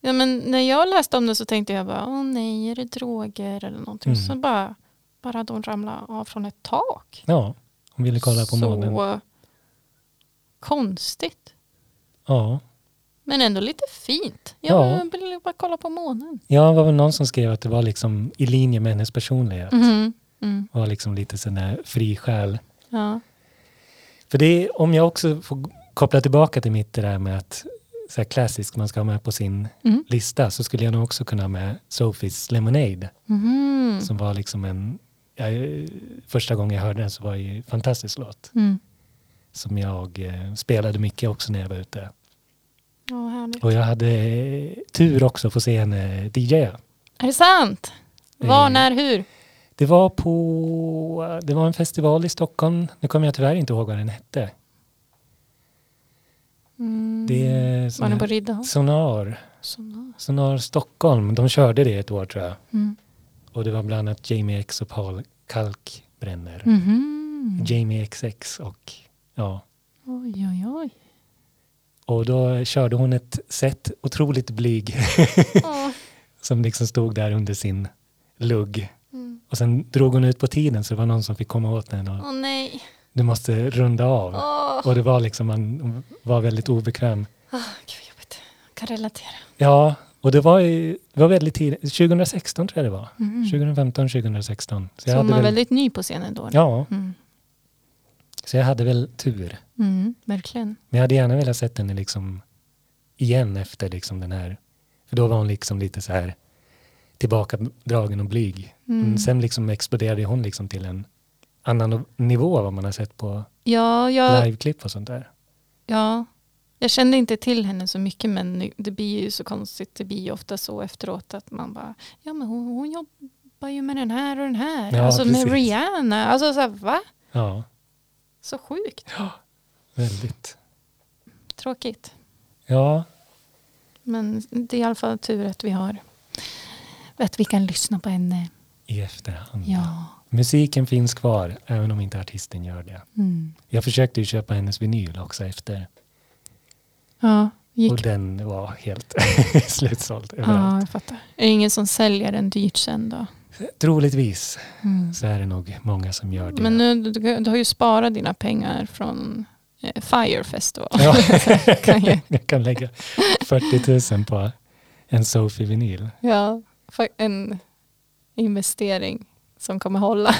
S2: Ja, men när jag läste om det så tänkte jag bara, åh nej, är det droger eller någonting?
S1: Mm.
S2: Så bara, bara att hon ramlade av från ett tak.
S1: Ja, hon ville kolla på
S2: så
S1: månen.
S2: konstigt.
S1: Ja.
S2: Men ändå lite fint.
S1: Ja.
S2: Jag vill bara kolla på månen.
S1: ja, det var väl någon som skrev att det var liksom i linje med hennes personlighet.
S2: Mhm. Mm.
S1: Var liksom lite sån där fri själ.
S2: Ja.
S1: För det är, om jag också får g- koppla tillbaka till mitt det där med att så här klassiskt man ska ha med på sin
S2: Mm.
S1: lista så skulle jag nog också kunna ha med Sophies Lemonade
S2: Mhm.
S1: som var liksom en, ja, eh, första gången jag hörde den så var det ju en fantastisk låt
S2: Mm.
S1: som jag eh, spelade mycket också när jag var ute.
S2: Ja, härligt.
S1: Och jag hade eh, tur också att få se eh, henne DJa.
S2: Är det sant? Var,
S1: Mm.
S2: när, hur?
S1: Det var på, eh, det var en festival i Stockholm, nu kommer jag tyvärr inte ihåg vad den hette.
S2: Mm.
S1: Det är
S2: Var ni
S1: sån
S2: på
S1: här,
S2: Riddarholm?
S1: Sonar.
S2: Sonar.
S1: Sonar Stockholm, de körde det ett år tror jag.
S2: Mm.
S1: Och det var bland annat Jamie X och Paul Kalkbrenner.
S2: Mhm.
S1: Jamie XX och ja.
S2: Oj, oj, oj.
S1: Och då körde hon ett set, otroligt blyg,
S2: Åh.
S1: som liksom stod där under sin lugg.
S2: Mm.
S1: Och sen drog hon ut på tiden så det var någon som fick komma åt henne och
S2: Åh nej.
S1: du måste runda av.
S2: Åh,
S1: Och det var liksom, man var väldigt obekväm.
S2: gud vad jobbigt. Jag kan relatera.
S1: Ja, och det var, ju, det var väldigt tidigt, 2016 tror jag det var. 2015, 2016. Så
S2: Mm. Så
S1: jag
S2: hon
S1: hade
S2: var
S1: väl,
S2: väldigt ny på scenen då.
S1: ja,
S2: Mm.
S1: så jag hade väl tur.
S2: Mm, verkligen.
S1: Men jag hade gärna velat sett henne liksom igen efter liksom den här. För då var hon liksom lite så här tillbakadragen och blyg.
S2: Mm.
S1: Men sen liksom exploderade hon liksom till en annan nivå av vad man har sett på
S2: Ja, jag,
S1: liveklipp och sånt där.
S2: ja, jag kände inte till henne så mycket men nu- det blir ju så konstigt. Det blir ju ofta så efteråt att man bara, ja men hon, hon jobbar ju med den här och den här.
S1: Ja,
S2: alltså
S1: precis.
S2: med Rihanna. Alltså så här, va?
S1: Ja,
S2: Så sjukt.
S1: väldigt.
S2: Tråkigt.
S1: Ja,
S2: Men det är i alla fall tur att vi har att vi kan lyssna på henne.
S1: i efterhand.
S2: Ja.
S1: Musiken finns kvar, även om inte artisten gör det.
S2: Mm.
S1: Jag försökte ju köpa hennes vinyl också efter.
S2: Ja,
S1: Och
S2: gick.
S1: den var helt slutsåld
S2: Ja,
S1: överallt.
S2: jag fattar. Är det ingen som säljer den dyrt sen då?
S1: Troligtvis
S2: Mm.
S1: så är det nog många som gör det.
S2: Men nu, du, du har ju sparat dina pengar från eh, Fire Festival.
S1: Ja.
S2: Kan ju-
S1: Jag kan lägga 40 000 på en Sophie-vinyl.
S2: ja, fa- en investering som kommer hålla.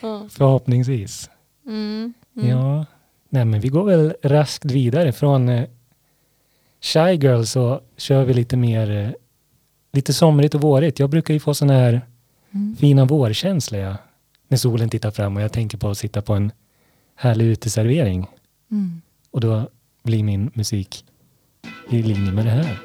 S2: Ja.
S1: Förhoppningsvis.
S2: mm, mm.
S1: Ja. Nej, men vi går väl raskt vidare från eh, Shy Girl så kör vi lite mer eh, lite somrigt och vårigt. Jag brukar ju få sån här
S2: Mm.
S1: fina vårkänsla ja. när solen tittar fram och jag tänker på att sitta på en härlig uteservering.
S2: Mm.
S1: Och då blir min musik i linje med det här.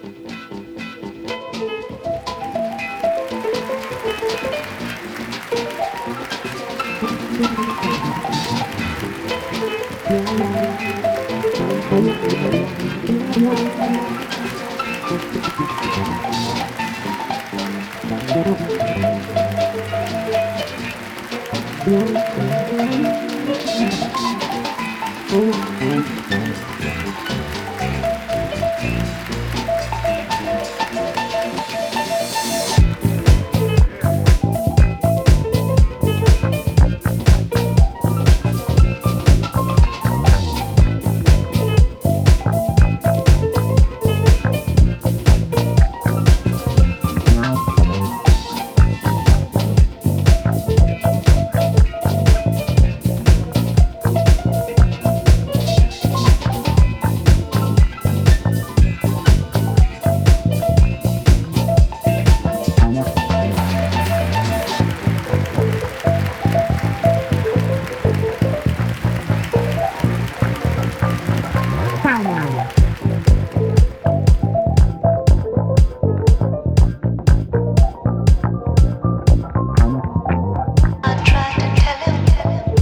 S6: I tried to tell him, tell him.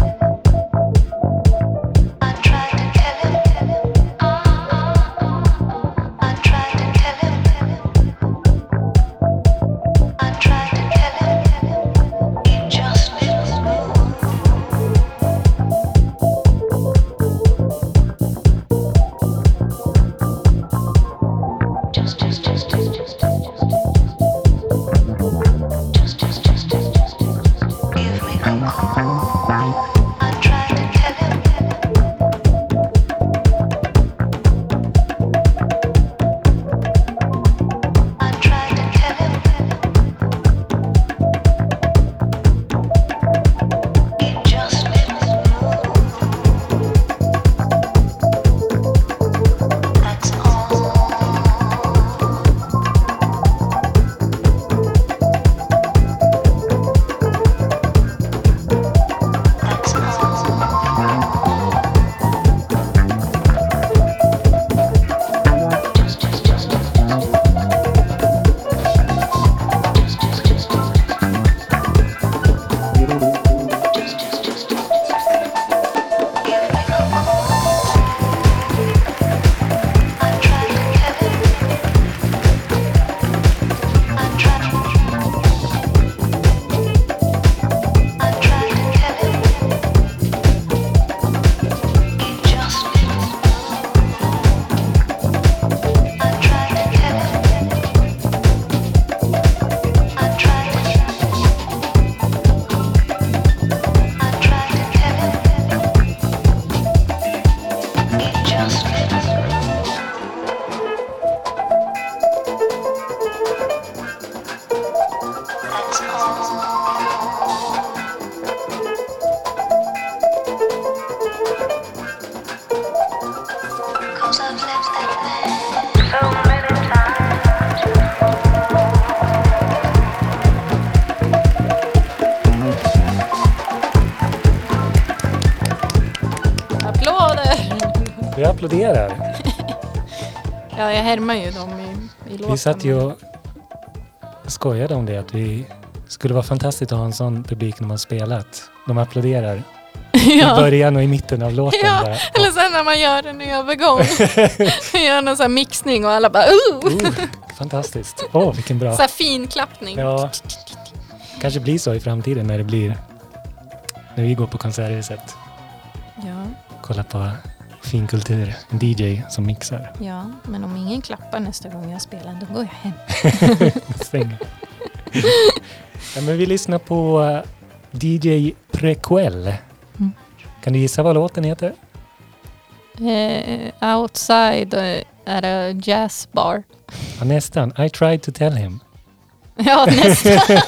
S6: I tried to tell him, tell him. I tried to tell him, tell him. I tried to tell him, tell him. He just didn't move. Just, just, just, just, just, just, just. Just, just, just, just, just, just, just give me a call. I tried to tell him, tell him. I tried to tell him, tell him. He just didn't move. That's all. That's all. Just, just, just, just, just. Just, just, just, just, just. Just, just, just, just, just. Give me a call. I tried to tell him. I tried. I tried to tell him, he just didn't move. I tried to tell him, I tried to tell him, I tried to tell him, he just didn't move. That's all. Cause I've lived that man so many times
S2: Applåder!
S1: Vi applåderar.
S2: Ja, jag härmar ju dem i, i låten.
S1: Vi satt ju och skojade om det, att vi skulle vara fantastiskt att ha en sån publik när man spelat. De applåderar i
S2: ja.
S1: början och i mitten av låten.
S2: Ja,
S1: bara.
S2: Eller sen när man gör en övergång. gör någon sån här mixning och alla bara oh!
S1: Oh, fantastiskt. Åh, vilken bra.
S2: Så här fin klappning.
S1: Ja. Kanske blir så i framtiden när det blir när vi går på konserthuset.
S2: Ja,
S1: Kolla på finkultur. En DJ som mixar.
S2: ja, men om ingen klappar nästa gång jag spelar då går jag hem.
S1: Stäng. ja, men vi lyssnar på eh, DJ Prequel.
S2: Mm.
S1: Kan du gissa vad låten heter?
S2: Eh, outside eh, at a jazz bar.
S1: Ja, nästan. I tried to tell him.
S2: Ja, nästan.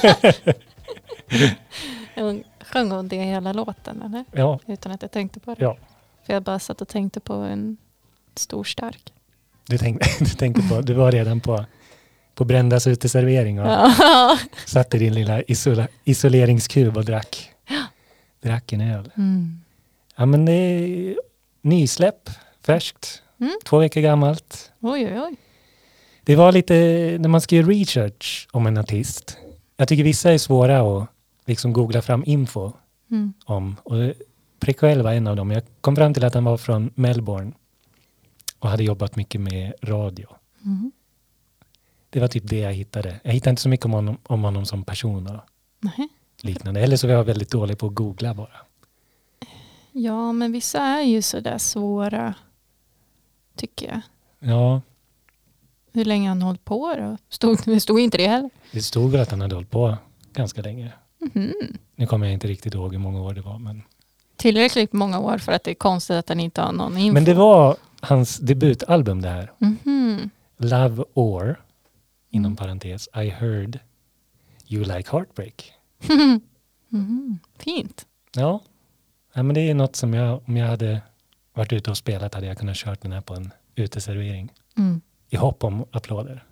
S2: Hon Sjöng hon det hela låten eller?
S1: Ja,
S2: Utan att jag tänkte på det.
S1: Ja.
S2: För jag bara satt och tänkte på en stor stark.
S1: du tänkte, du tänkte på, du var redan på, på Brändas uteservering och
S2: Ja.
S1: satt i din lilla isola, isoleringskub och drack, drack en öl.
S2: Mm.
S1: Ja, men det är nysläpp, färskt,
S2: Mm.
S1: två veckor gammalt.
S2: Oj, oj, oj.
S1: Det var lite när man ska göra research om en artist. Jag tycker vissa är svåra att liksom googla fram info
S2: Mm.
S1: om. Och Prequel var en av dem. Jag kom fram till att han var från Melbourne och hade jobbat mycket med radio.
S2: Mm.
S1: Det var typ det jag hittade. Jag hittade inte så mycket om honom, om honom som person och
S2: Nej.
S1: liknande. Eller så var jag väldigt dålig på att googla bara.
S2: Ja, men vissa är ju sådär svåra, tycker jag.
S1: Ja,
S2: Hur länge har han hållit på då? Stod, det stod inte det heller.
S1: det stod väl att han hade hållit på ganska länge.
S2: Mhm.
S1: Nu kommer jag inte riktigt ihåg hur många år det var. Men,
S2: Tillräckligt många år för att det är konstigt att han inte har någon info.
S1: men det var hans debutalbum det här.
S2: Mhm.
S1: Love or, inom parentes, I heard you like heartbreak.
S2: Mhm. Fint.
S1: Ja, ja men det är något som jag, om jag hade varit ute och spelat hade jag kunnat kört den här på en uteservering.
S2: Mm.
S1: I hopp om applåder.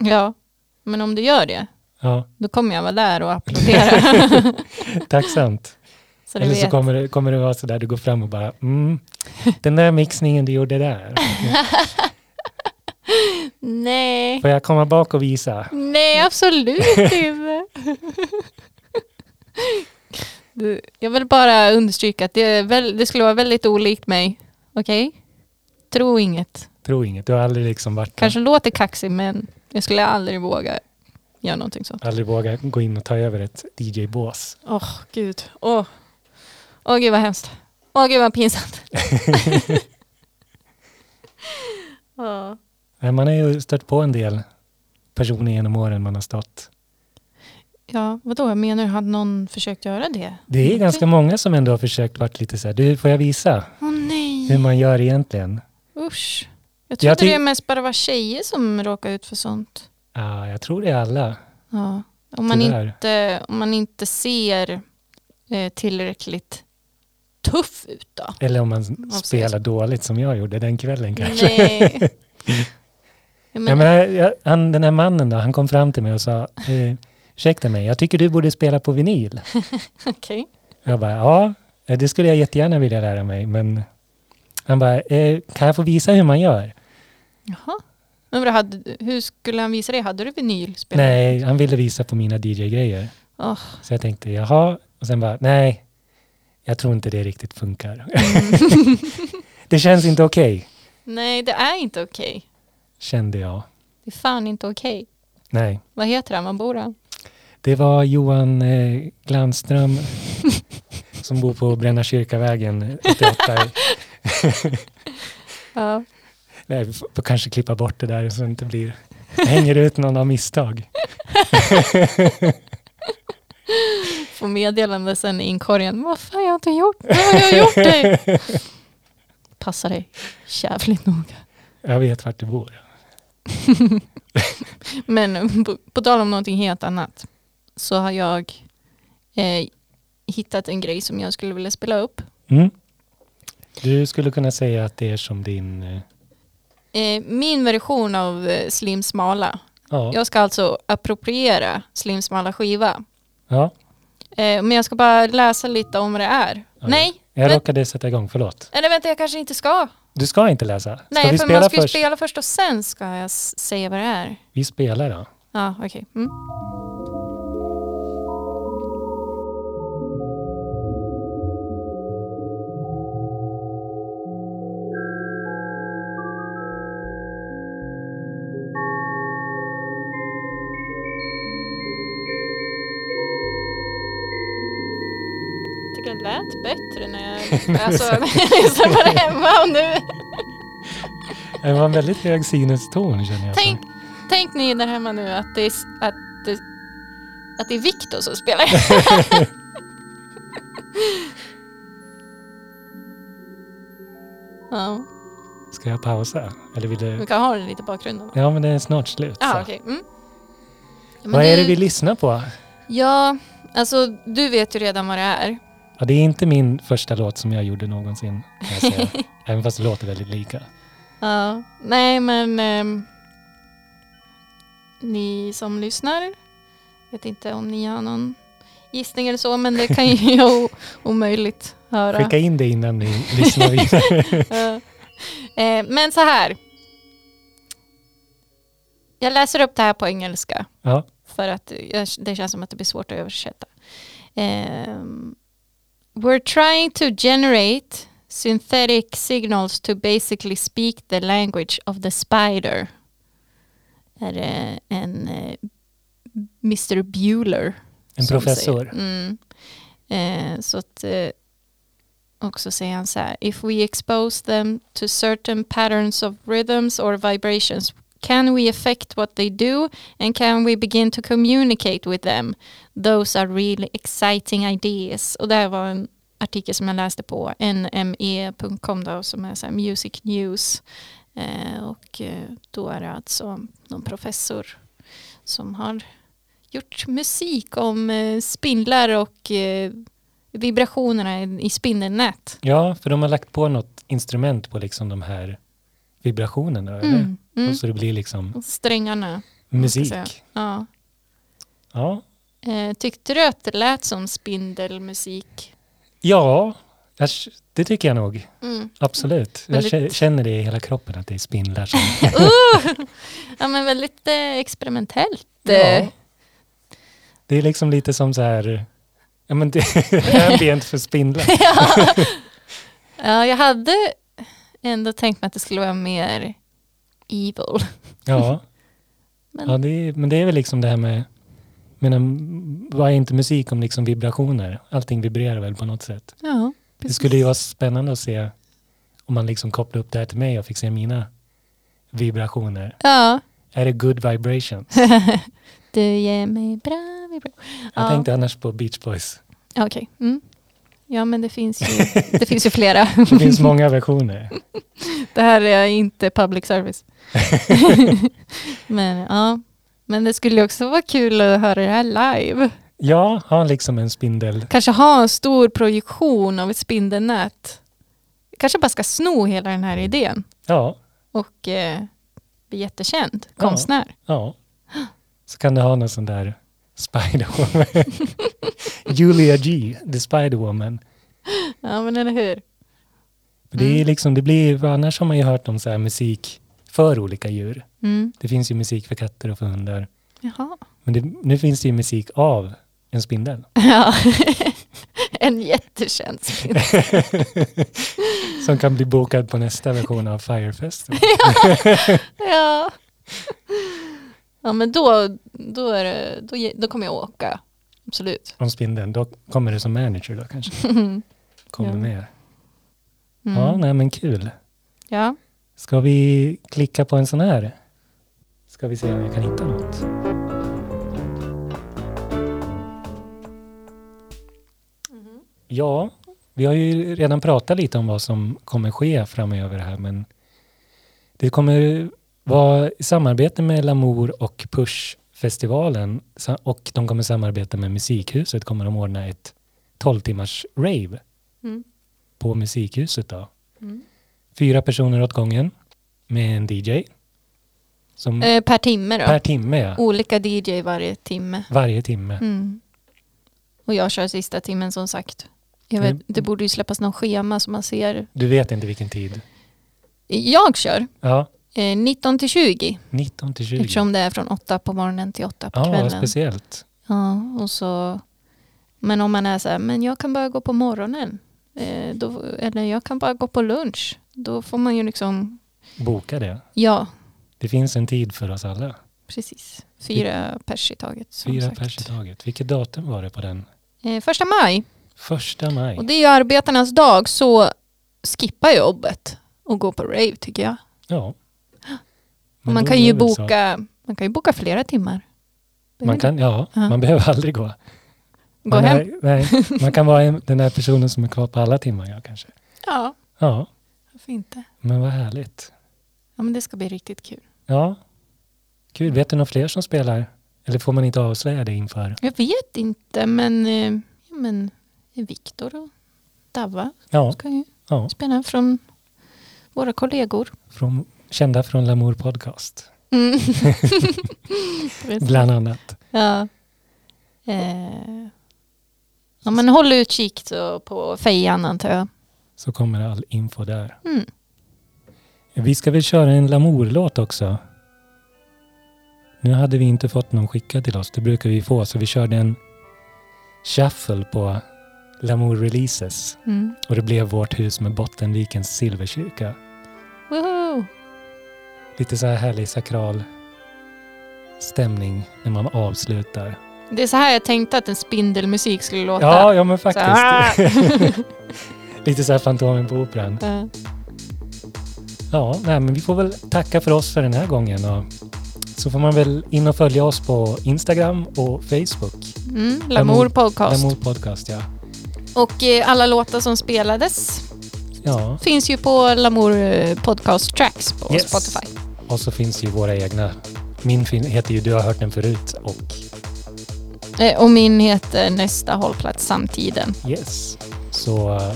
S2: Ja, men om du gör det,
S1: Ja,
S2: då kommer jag vara där och applådera.
S1: tacksamt.
S2: så du
S1: Eller så
S2: vet.
S1: kommer det, kommer det vara sådär, du går fram och bara, mm, den där mixningen du gjorde där,
S2: Nej.
S1: får jag komma bak och visa?
S2: Nej, absolut inte. Du, jag vill bara understryka att det, är väl, det skulle vara väldigt olikt mig. Okej? Tro inget.
S1: Tro inget, du har aldrig liksom varit
S2: Kanske låter kaxig, men jag skulle aldrig våga göra någonting sånt.
S1: aldrig vågat gå in och ta över ett DJ-bås.
S2: Åh, gud. Åh, oh. gud vad hemskt. Åh, gud vad pinsamt. Ja.
S1: Nej, Man har ju stött på en del personer genom åren man har stått.
S2: Ja, vadå? Jag menar, hade någon försökt göra det?
S1: Det är
S2: Mm.
S1: ganska många som ändå har försökt varit lite så här, du får jag visa
S2: Åh nej,
S1: hur man gör egentligen?
S2: usch. Jag trodde
S1: Jag ty-
S2: det mest bara var tjejer som råkade ut för sånt.
S1: Ja, jag tror det är alla.
S2: Ja. Om, man
S1: Tyvärr.
S2: inte, om man inte ser eh, tillräckligt tuff ut då.
S1: Eller om man
S2: Absolut.
S1: spelar dåligt som jag gjorde den
S2: Mm,
S1: kvällen kanske.
S2: Nej.
S1: Ja,
S2: Jag menar,
S1: men jag, jag, han, den här mannen då, han kom fram till mig och sa, eh, ursäkta mig, jag tycker du borde spela på vinyl.
S2: okej.
S1: Jag bara, ja, eh, det skulle jag jättegärna vilja lära mig, men han bara, eh, kan jag få visa hur man gör?
S2: Jaha. Men vadå, hade, hur skulle han visa det? Hade du vinylspelare?
S1: Nej, han ville visa på mina DJ-grejer.
S2: Åh.
S1: Så jag tänkte, jaha, och sen bara, nej, jag tror inte det riktigt funkar. det känns inte okej,
S2: Nej, det är inte okej.
S1: kände jag.
S2: Det är fan inte okej.
S1: Nej.
S2: Vad heter han? Var bor han?
S1: Det var Johan eh, Glanström som bor på Bränna kyrkavägen 88.
S2: Ja.
S1: Nej, vi får får kanske klippa bort det där så det inte blir... Jag hänger ut någon av misstag.
S2: Får meddelande sen i inkorgen. Vad fan jag har inte gjort? Vad har jag gjort dig? Passa dig jävligt noga.
S1: Jag vet vart du bor.
S2: Men på, på tal om någonting helt annat så har jag eh, hittat en grej som jag skulle vilja spela upp.
S1: Mm. Du skulle kunna säga att det är som din... eh,
S2: Eh, min version av eh, Slim Smala.
S1: Ja.
S2: Jag ska alltså appropriera Slim Smala skiva.
S1: ja.
S2: Eh, men jag ska bara läsa lite om vad det är.
S1: Ja.
S2: Nej,
S1: Jag
S2: vänta,
S1: råkade sätta igång, förlåt.
S2: eller vänta jag kanske inte ska.
S1: Du ska inte läsa. Ska
S2: Nej,
S1: vi
S2: för man
S1: spela
S2: ska ju
S1: först?
S2: spela först och sen ska jag s- säga vad det är.
S1: Vi spelar då.
S2: Ja, okej. Mm. tycker det lät bättre när jag alltså, lyssnar på det hemma och nu.
S1: Det var en väldigt hög sinuston känner jag.
S2: Tänk, tänk ni där hemma nu att det är, s- att det, att det är Viktor som spelar. ja,
S1: Ska jag pausa? Eller vill
S2: vi
S1: du...
S2: kan ha det lite i bakgrunden.
S1: Ja, men det är snart slut.
S2: Ja,
S1: så.
S2: okej. Mm. Ja, men
S1: Vad är det
S2: du-
S1: vi lyssnar på?
S2: Ja, alltså du vet ju redan vad det är.
S1: Ja, det är inte min första låt som jag gjorde någonsin. Kan jag säga. Även fast det låter väldigt lika.
S2: Ja, nej men ehm, ni som lyssnar, vet inte om ni har någon gissning eller så, men det kan ju vara o- omöjligt höra.
S1: Skicka in det innan ni lyssnar vidare.
S2: Ja. Eh, men så här. Jag läser upp det här på engelska
S1: Ja,
S2: för att jag, det känns som att det blir svårt att översätta. Ehm, we're trying to generate synthetic signals to basically speak the language of the spider. Är det en eh, Mr. Bueller
S1: En
S2: som
S1: professor.
S2: Säger, mm. eh, så att, eh, och så säger han så här. If we expose them to certain patterns of rhythms or vibrations can we affect what they do and can we begin to communicate with them? Those are really exciting ideas. Och det här var en artikel som jag läste på nme.com då, som är så här music news. Eh, och eh, då är det alltså någon professor som har gjort musik om eh, spindlar och eh, vibrationerna i i spindelnät.
S1: Ja, för de har lagt på något instrument på liksom de här vibrationerna. Eller?
S2: Mm, mm.
S1: Och så det blir liksom
S2: Och strängarna. man ska
S1: musik.
S2: säga. Ja.
S1: Ja.
S2: Eh, tyckte du att det lät som spindelmusik?
S1: ja, jag, det tycker jag nog.
S2: Mm.
S1: Absolut. Jag
S2: Väldigt-
S1: kä- känner det i hela kroppen att det är spindlar som...
S2: Ja, men väldigt eh, experimentellt.
S1: ja.
S2: eh.
S1: Det är liksom lite som så här... Ja, men det ambient för spindlar.
S2: Ja. ja, jag hade ändå tänkt mig att det skulle vara mer evil.
S1: Ja.
S2: Men-
S1: ja det är, men det är väl liksom det här med... jag Menar, vad är inte musik om liksom vibrationer? Allting vibrerar väl på något sätt.
S2: Ja,
S1: Det skulle ju vara spännande att se om man liksom kopplar upp det här till mig och fick se mina vibrationer.
S2: Ja,
S1: Är det good vibrations?
S2: du ger mig bra vibrationer.
S1: Jag
S2: Ja.
S1: tänkte annars på Beach Boys.
S2: Okej. Mm. Ja, men det finns ju, det finns ju flera.
S1: Det finns många versioner.
S2: Det här är inte public service. men, ja. men det skulle ju också vara kul att höra det här live.
S1: Ja, ha liksom en spindel.
S2: Kanske ha en stor projektion av ett spindelnät. Kanske bara ska sno hela den här idén
S1: Ja,
S2: och eh, bli jättekänd
S1: Ja.
S2: konstnär.
S1: ja. Så kan du ha någon sån där Spider-Woman. Julia G, The Spider-Woman.
S2: Ja, men eller hur?
S1: För Det, är liksom, det blir, för annars har man ju hört om så här musik för olika djur.
S2: Mm.
S1: Det finns ju musik för katter och för hundar.
S2: Jaha.
S1: Men det, nu finns det ju musik av en spindel.
S2: Ja. en jättekänd spindel.
S1: Som kan bli bokad på nästa version av Firefest.
S2: Ja. Ja, men då, då, är det, då, ge- då kommer jag åka. Absolut.
S1: Om spindeln, då kommer du som manager då kanske. Kommer
S2: Ja.
S1: med.
S2: Mm.
S1: Ja, nej men kul.
S2: Ja.
S1: Ska vi klicka på en sån här? Ska vi se om jag kan hitta något.
S2: Mm-hmm.
S1: Ja, vi har ju redan pratat lite om vad som kommer ske framöver här men det kommer vara i samarbete med Lamour och Push-festivalen sa- och de kommer samarbeta med Musikhuset kommer de ordna ett 12 timmars rave
S2: Mm.
S1: på Musikhuset då.
S2: Mm.
S1: Fyra personer åt gången med en DJ. Som
S2: Eh, per timme då.
S1: Mm. per timme, ja.
S2: Olika DJ varje timme.
S1: Varje timme.
S2: Mm. Och jag kör sista timmen som sagt. Jag vet,
S1: Mm.
S2: Det borde ju släppas någon schema som man ser.
S1: Du vet inte vilken tid.
S2: Jag kör
S1: Ja,
S2: eh, 19 till 20
S1: 19 till 20.
S2: eftersom det är från 8 på morgonen till 8 på
S1: ja, vad
S2: kvällen.
S1: speciellt.
S2: Ja, och så, men om man är så här, men jag kan bara gå på morgonen. Eh, då, eller jag kan bara gå på lunch. Då får man ju liksom,
S1: Boka det.
S2: ja,
S1: Det finns en tid för oss alla.
S2: precis. Fyra pers i taget. Som
S1: Fyra
S2: sagt.
S1: pers i taget. Vilket datum var det på den?
S2: Eh, första maj.
S1: Första maj.
S2: Och det är ju arbetarnas dag så skippa jobbet och gå på rave tycker jag.
S1: Ja.
S2: Och
S1: Men
S2: man
S1: då
S2: kan,
S1: är
S2: ju
S1: det väl så.
S2: boka, man kan ju boka flera timmar.
S1: Man kan, ja,
S2: Ja.
S1: man behöver aldrig gå.
S2: Gå
S1: man
S2: hem.
S1: Är, nej, man kan vara en, den där personen som är kvar på alla timmar, ja kanske.
S2: Ja,
S1: Ja,
S2: varför inte?
S1: men vad härligt.
S2: Ja men det ska bli riktigt kul.
S1: Ja, kul. Vet du några fler som spelar? Eller får man inte avslöja det inför?
S2: Jag vet inte men, eh, ja, men Viktor och Dava
S1: Ja,
S2: ska ju
S1: ja
S2: spela från våra kollegor.
S1: från, kända från Lamour Podcast,
S2: Mm.
S1: bland annat.
S2: ja. Eh. ja men håll utkik då på fejan antar jag.
S1: Så kommer all info där.
S2: Mm.
S1: Vi ska väl köra en Lamour-låt också. Nu hade vi inte fått någon skickad till oss, det brukar vi få, så vi körde en shuffle på Lamour Releases.
S2: Mm.
S1: Och det blev Vårt hus med Bottenvikens silverkyrka.
S2: Woho!
S1: Lite så här härlig sakral stämning när man avslutar.
S2: Det är så här jag tänkte att en spindelmusik skulle låta.
S1: Ja, ja men
S2: Så här,
S1: faktiskt. Lite så här Fantomen på Operan.
S2: "Ah!"
S1: Ja, nej, men vi får väl tacka för oss för den här gången. Och så får man väl in och följa oss på Instagram och Facebook.
S2: Mm, Lamour podcast.
S1: Lamour Podcast, ja.
S2: Och eh, alla låtar som spelades
S1: ja.
S2: finns ju på Lamour eh, podcast tracks på
S1: Yes.
S2: Spotify.
S1: Och så finns ju våra egna. Min fin- heter ju Du har hört den förut och
S2: Eh, Och min heter Nästa hållplats samtiden.
S1: yes. Så eh,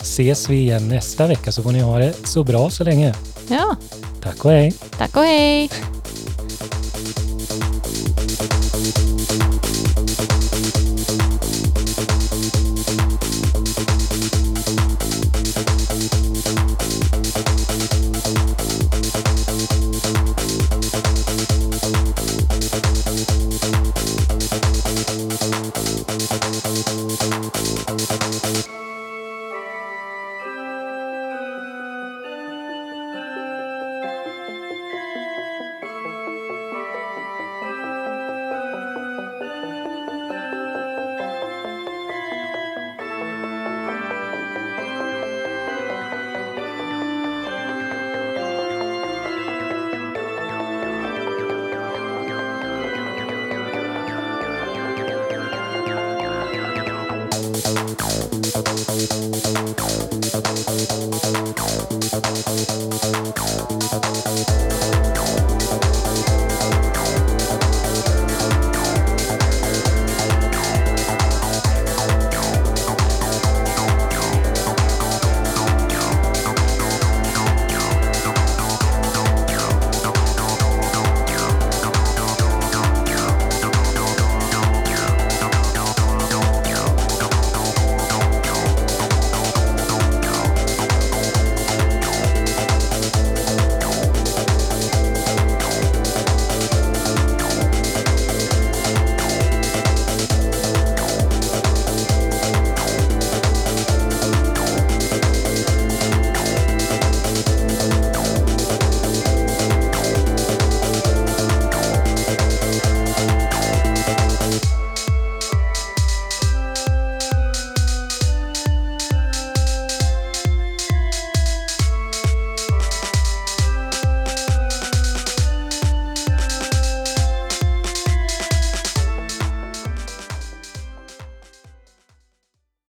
S1: ses vi igen nästa vecka så får ni ha det så bra så länge.
S2: Ja,
S1: Tack och hej!
S2: tack och hej!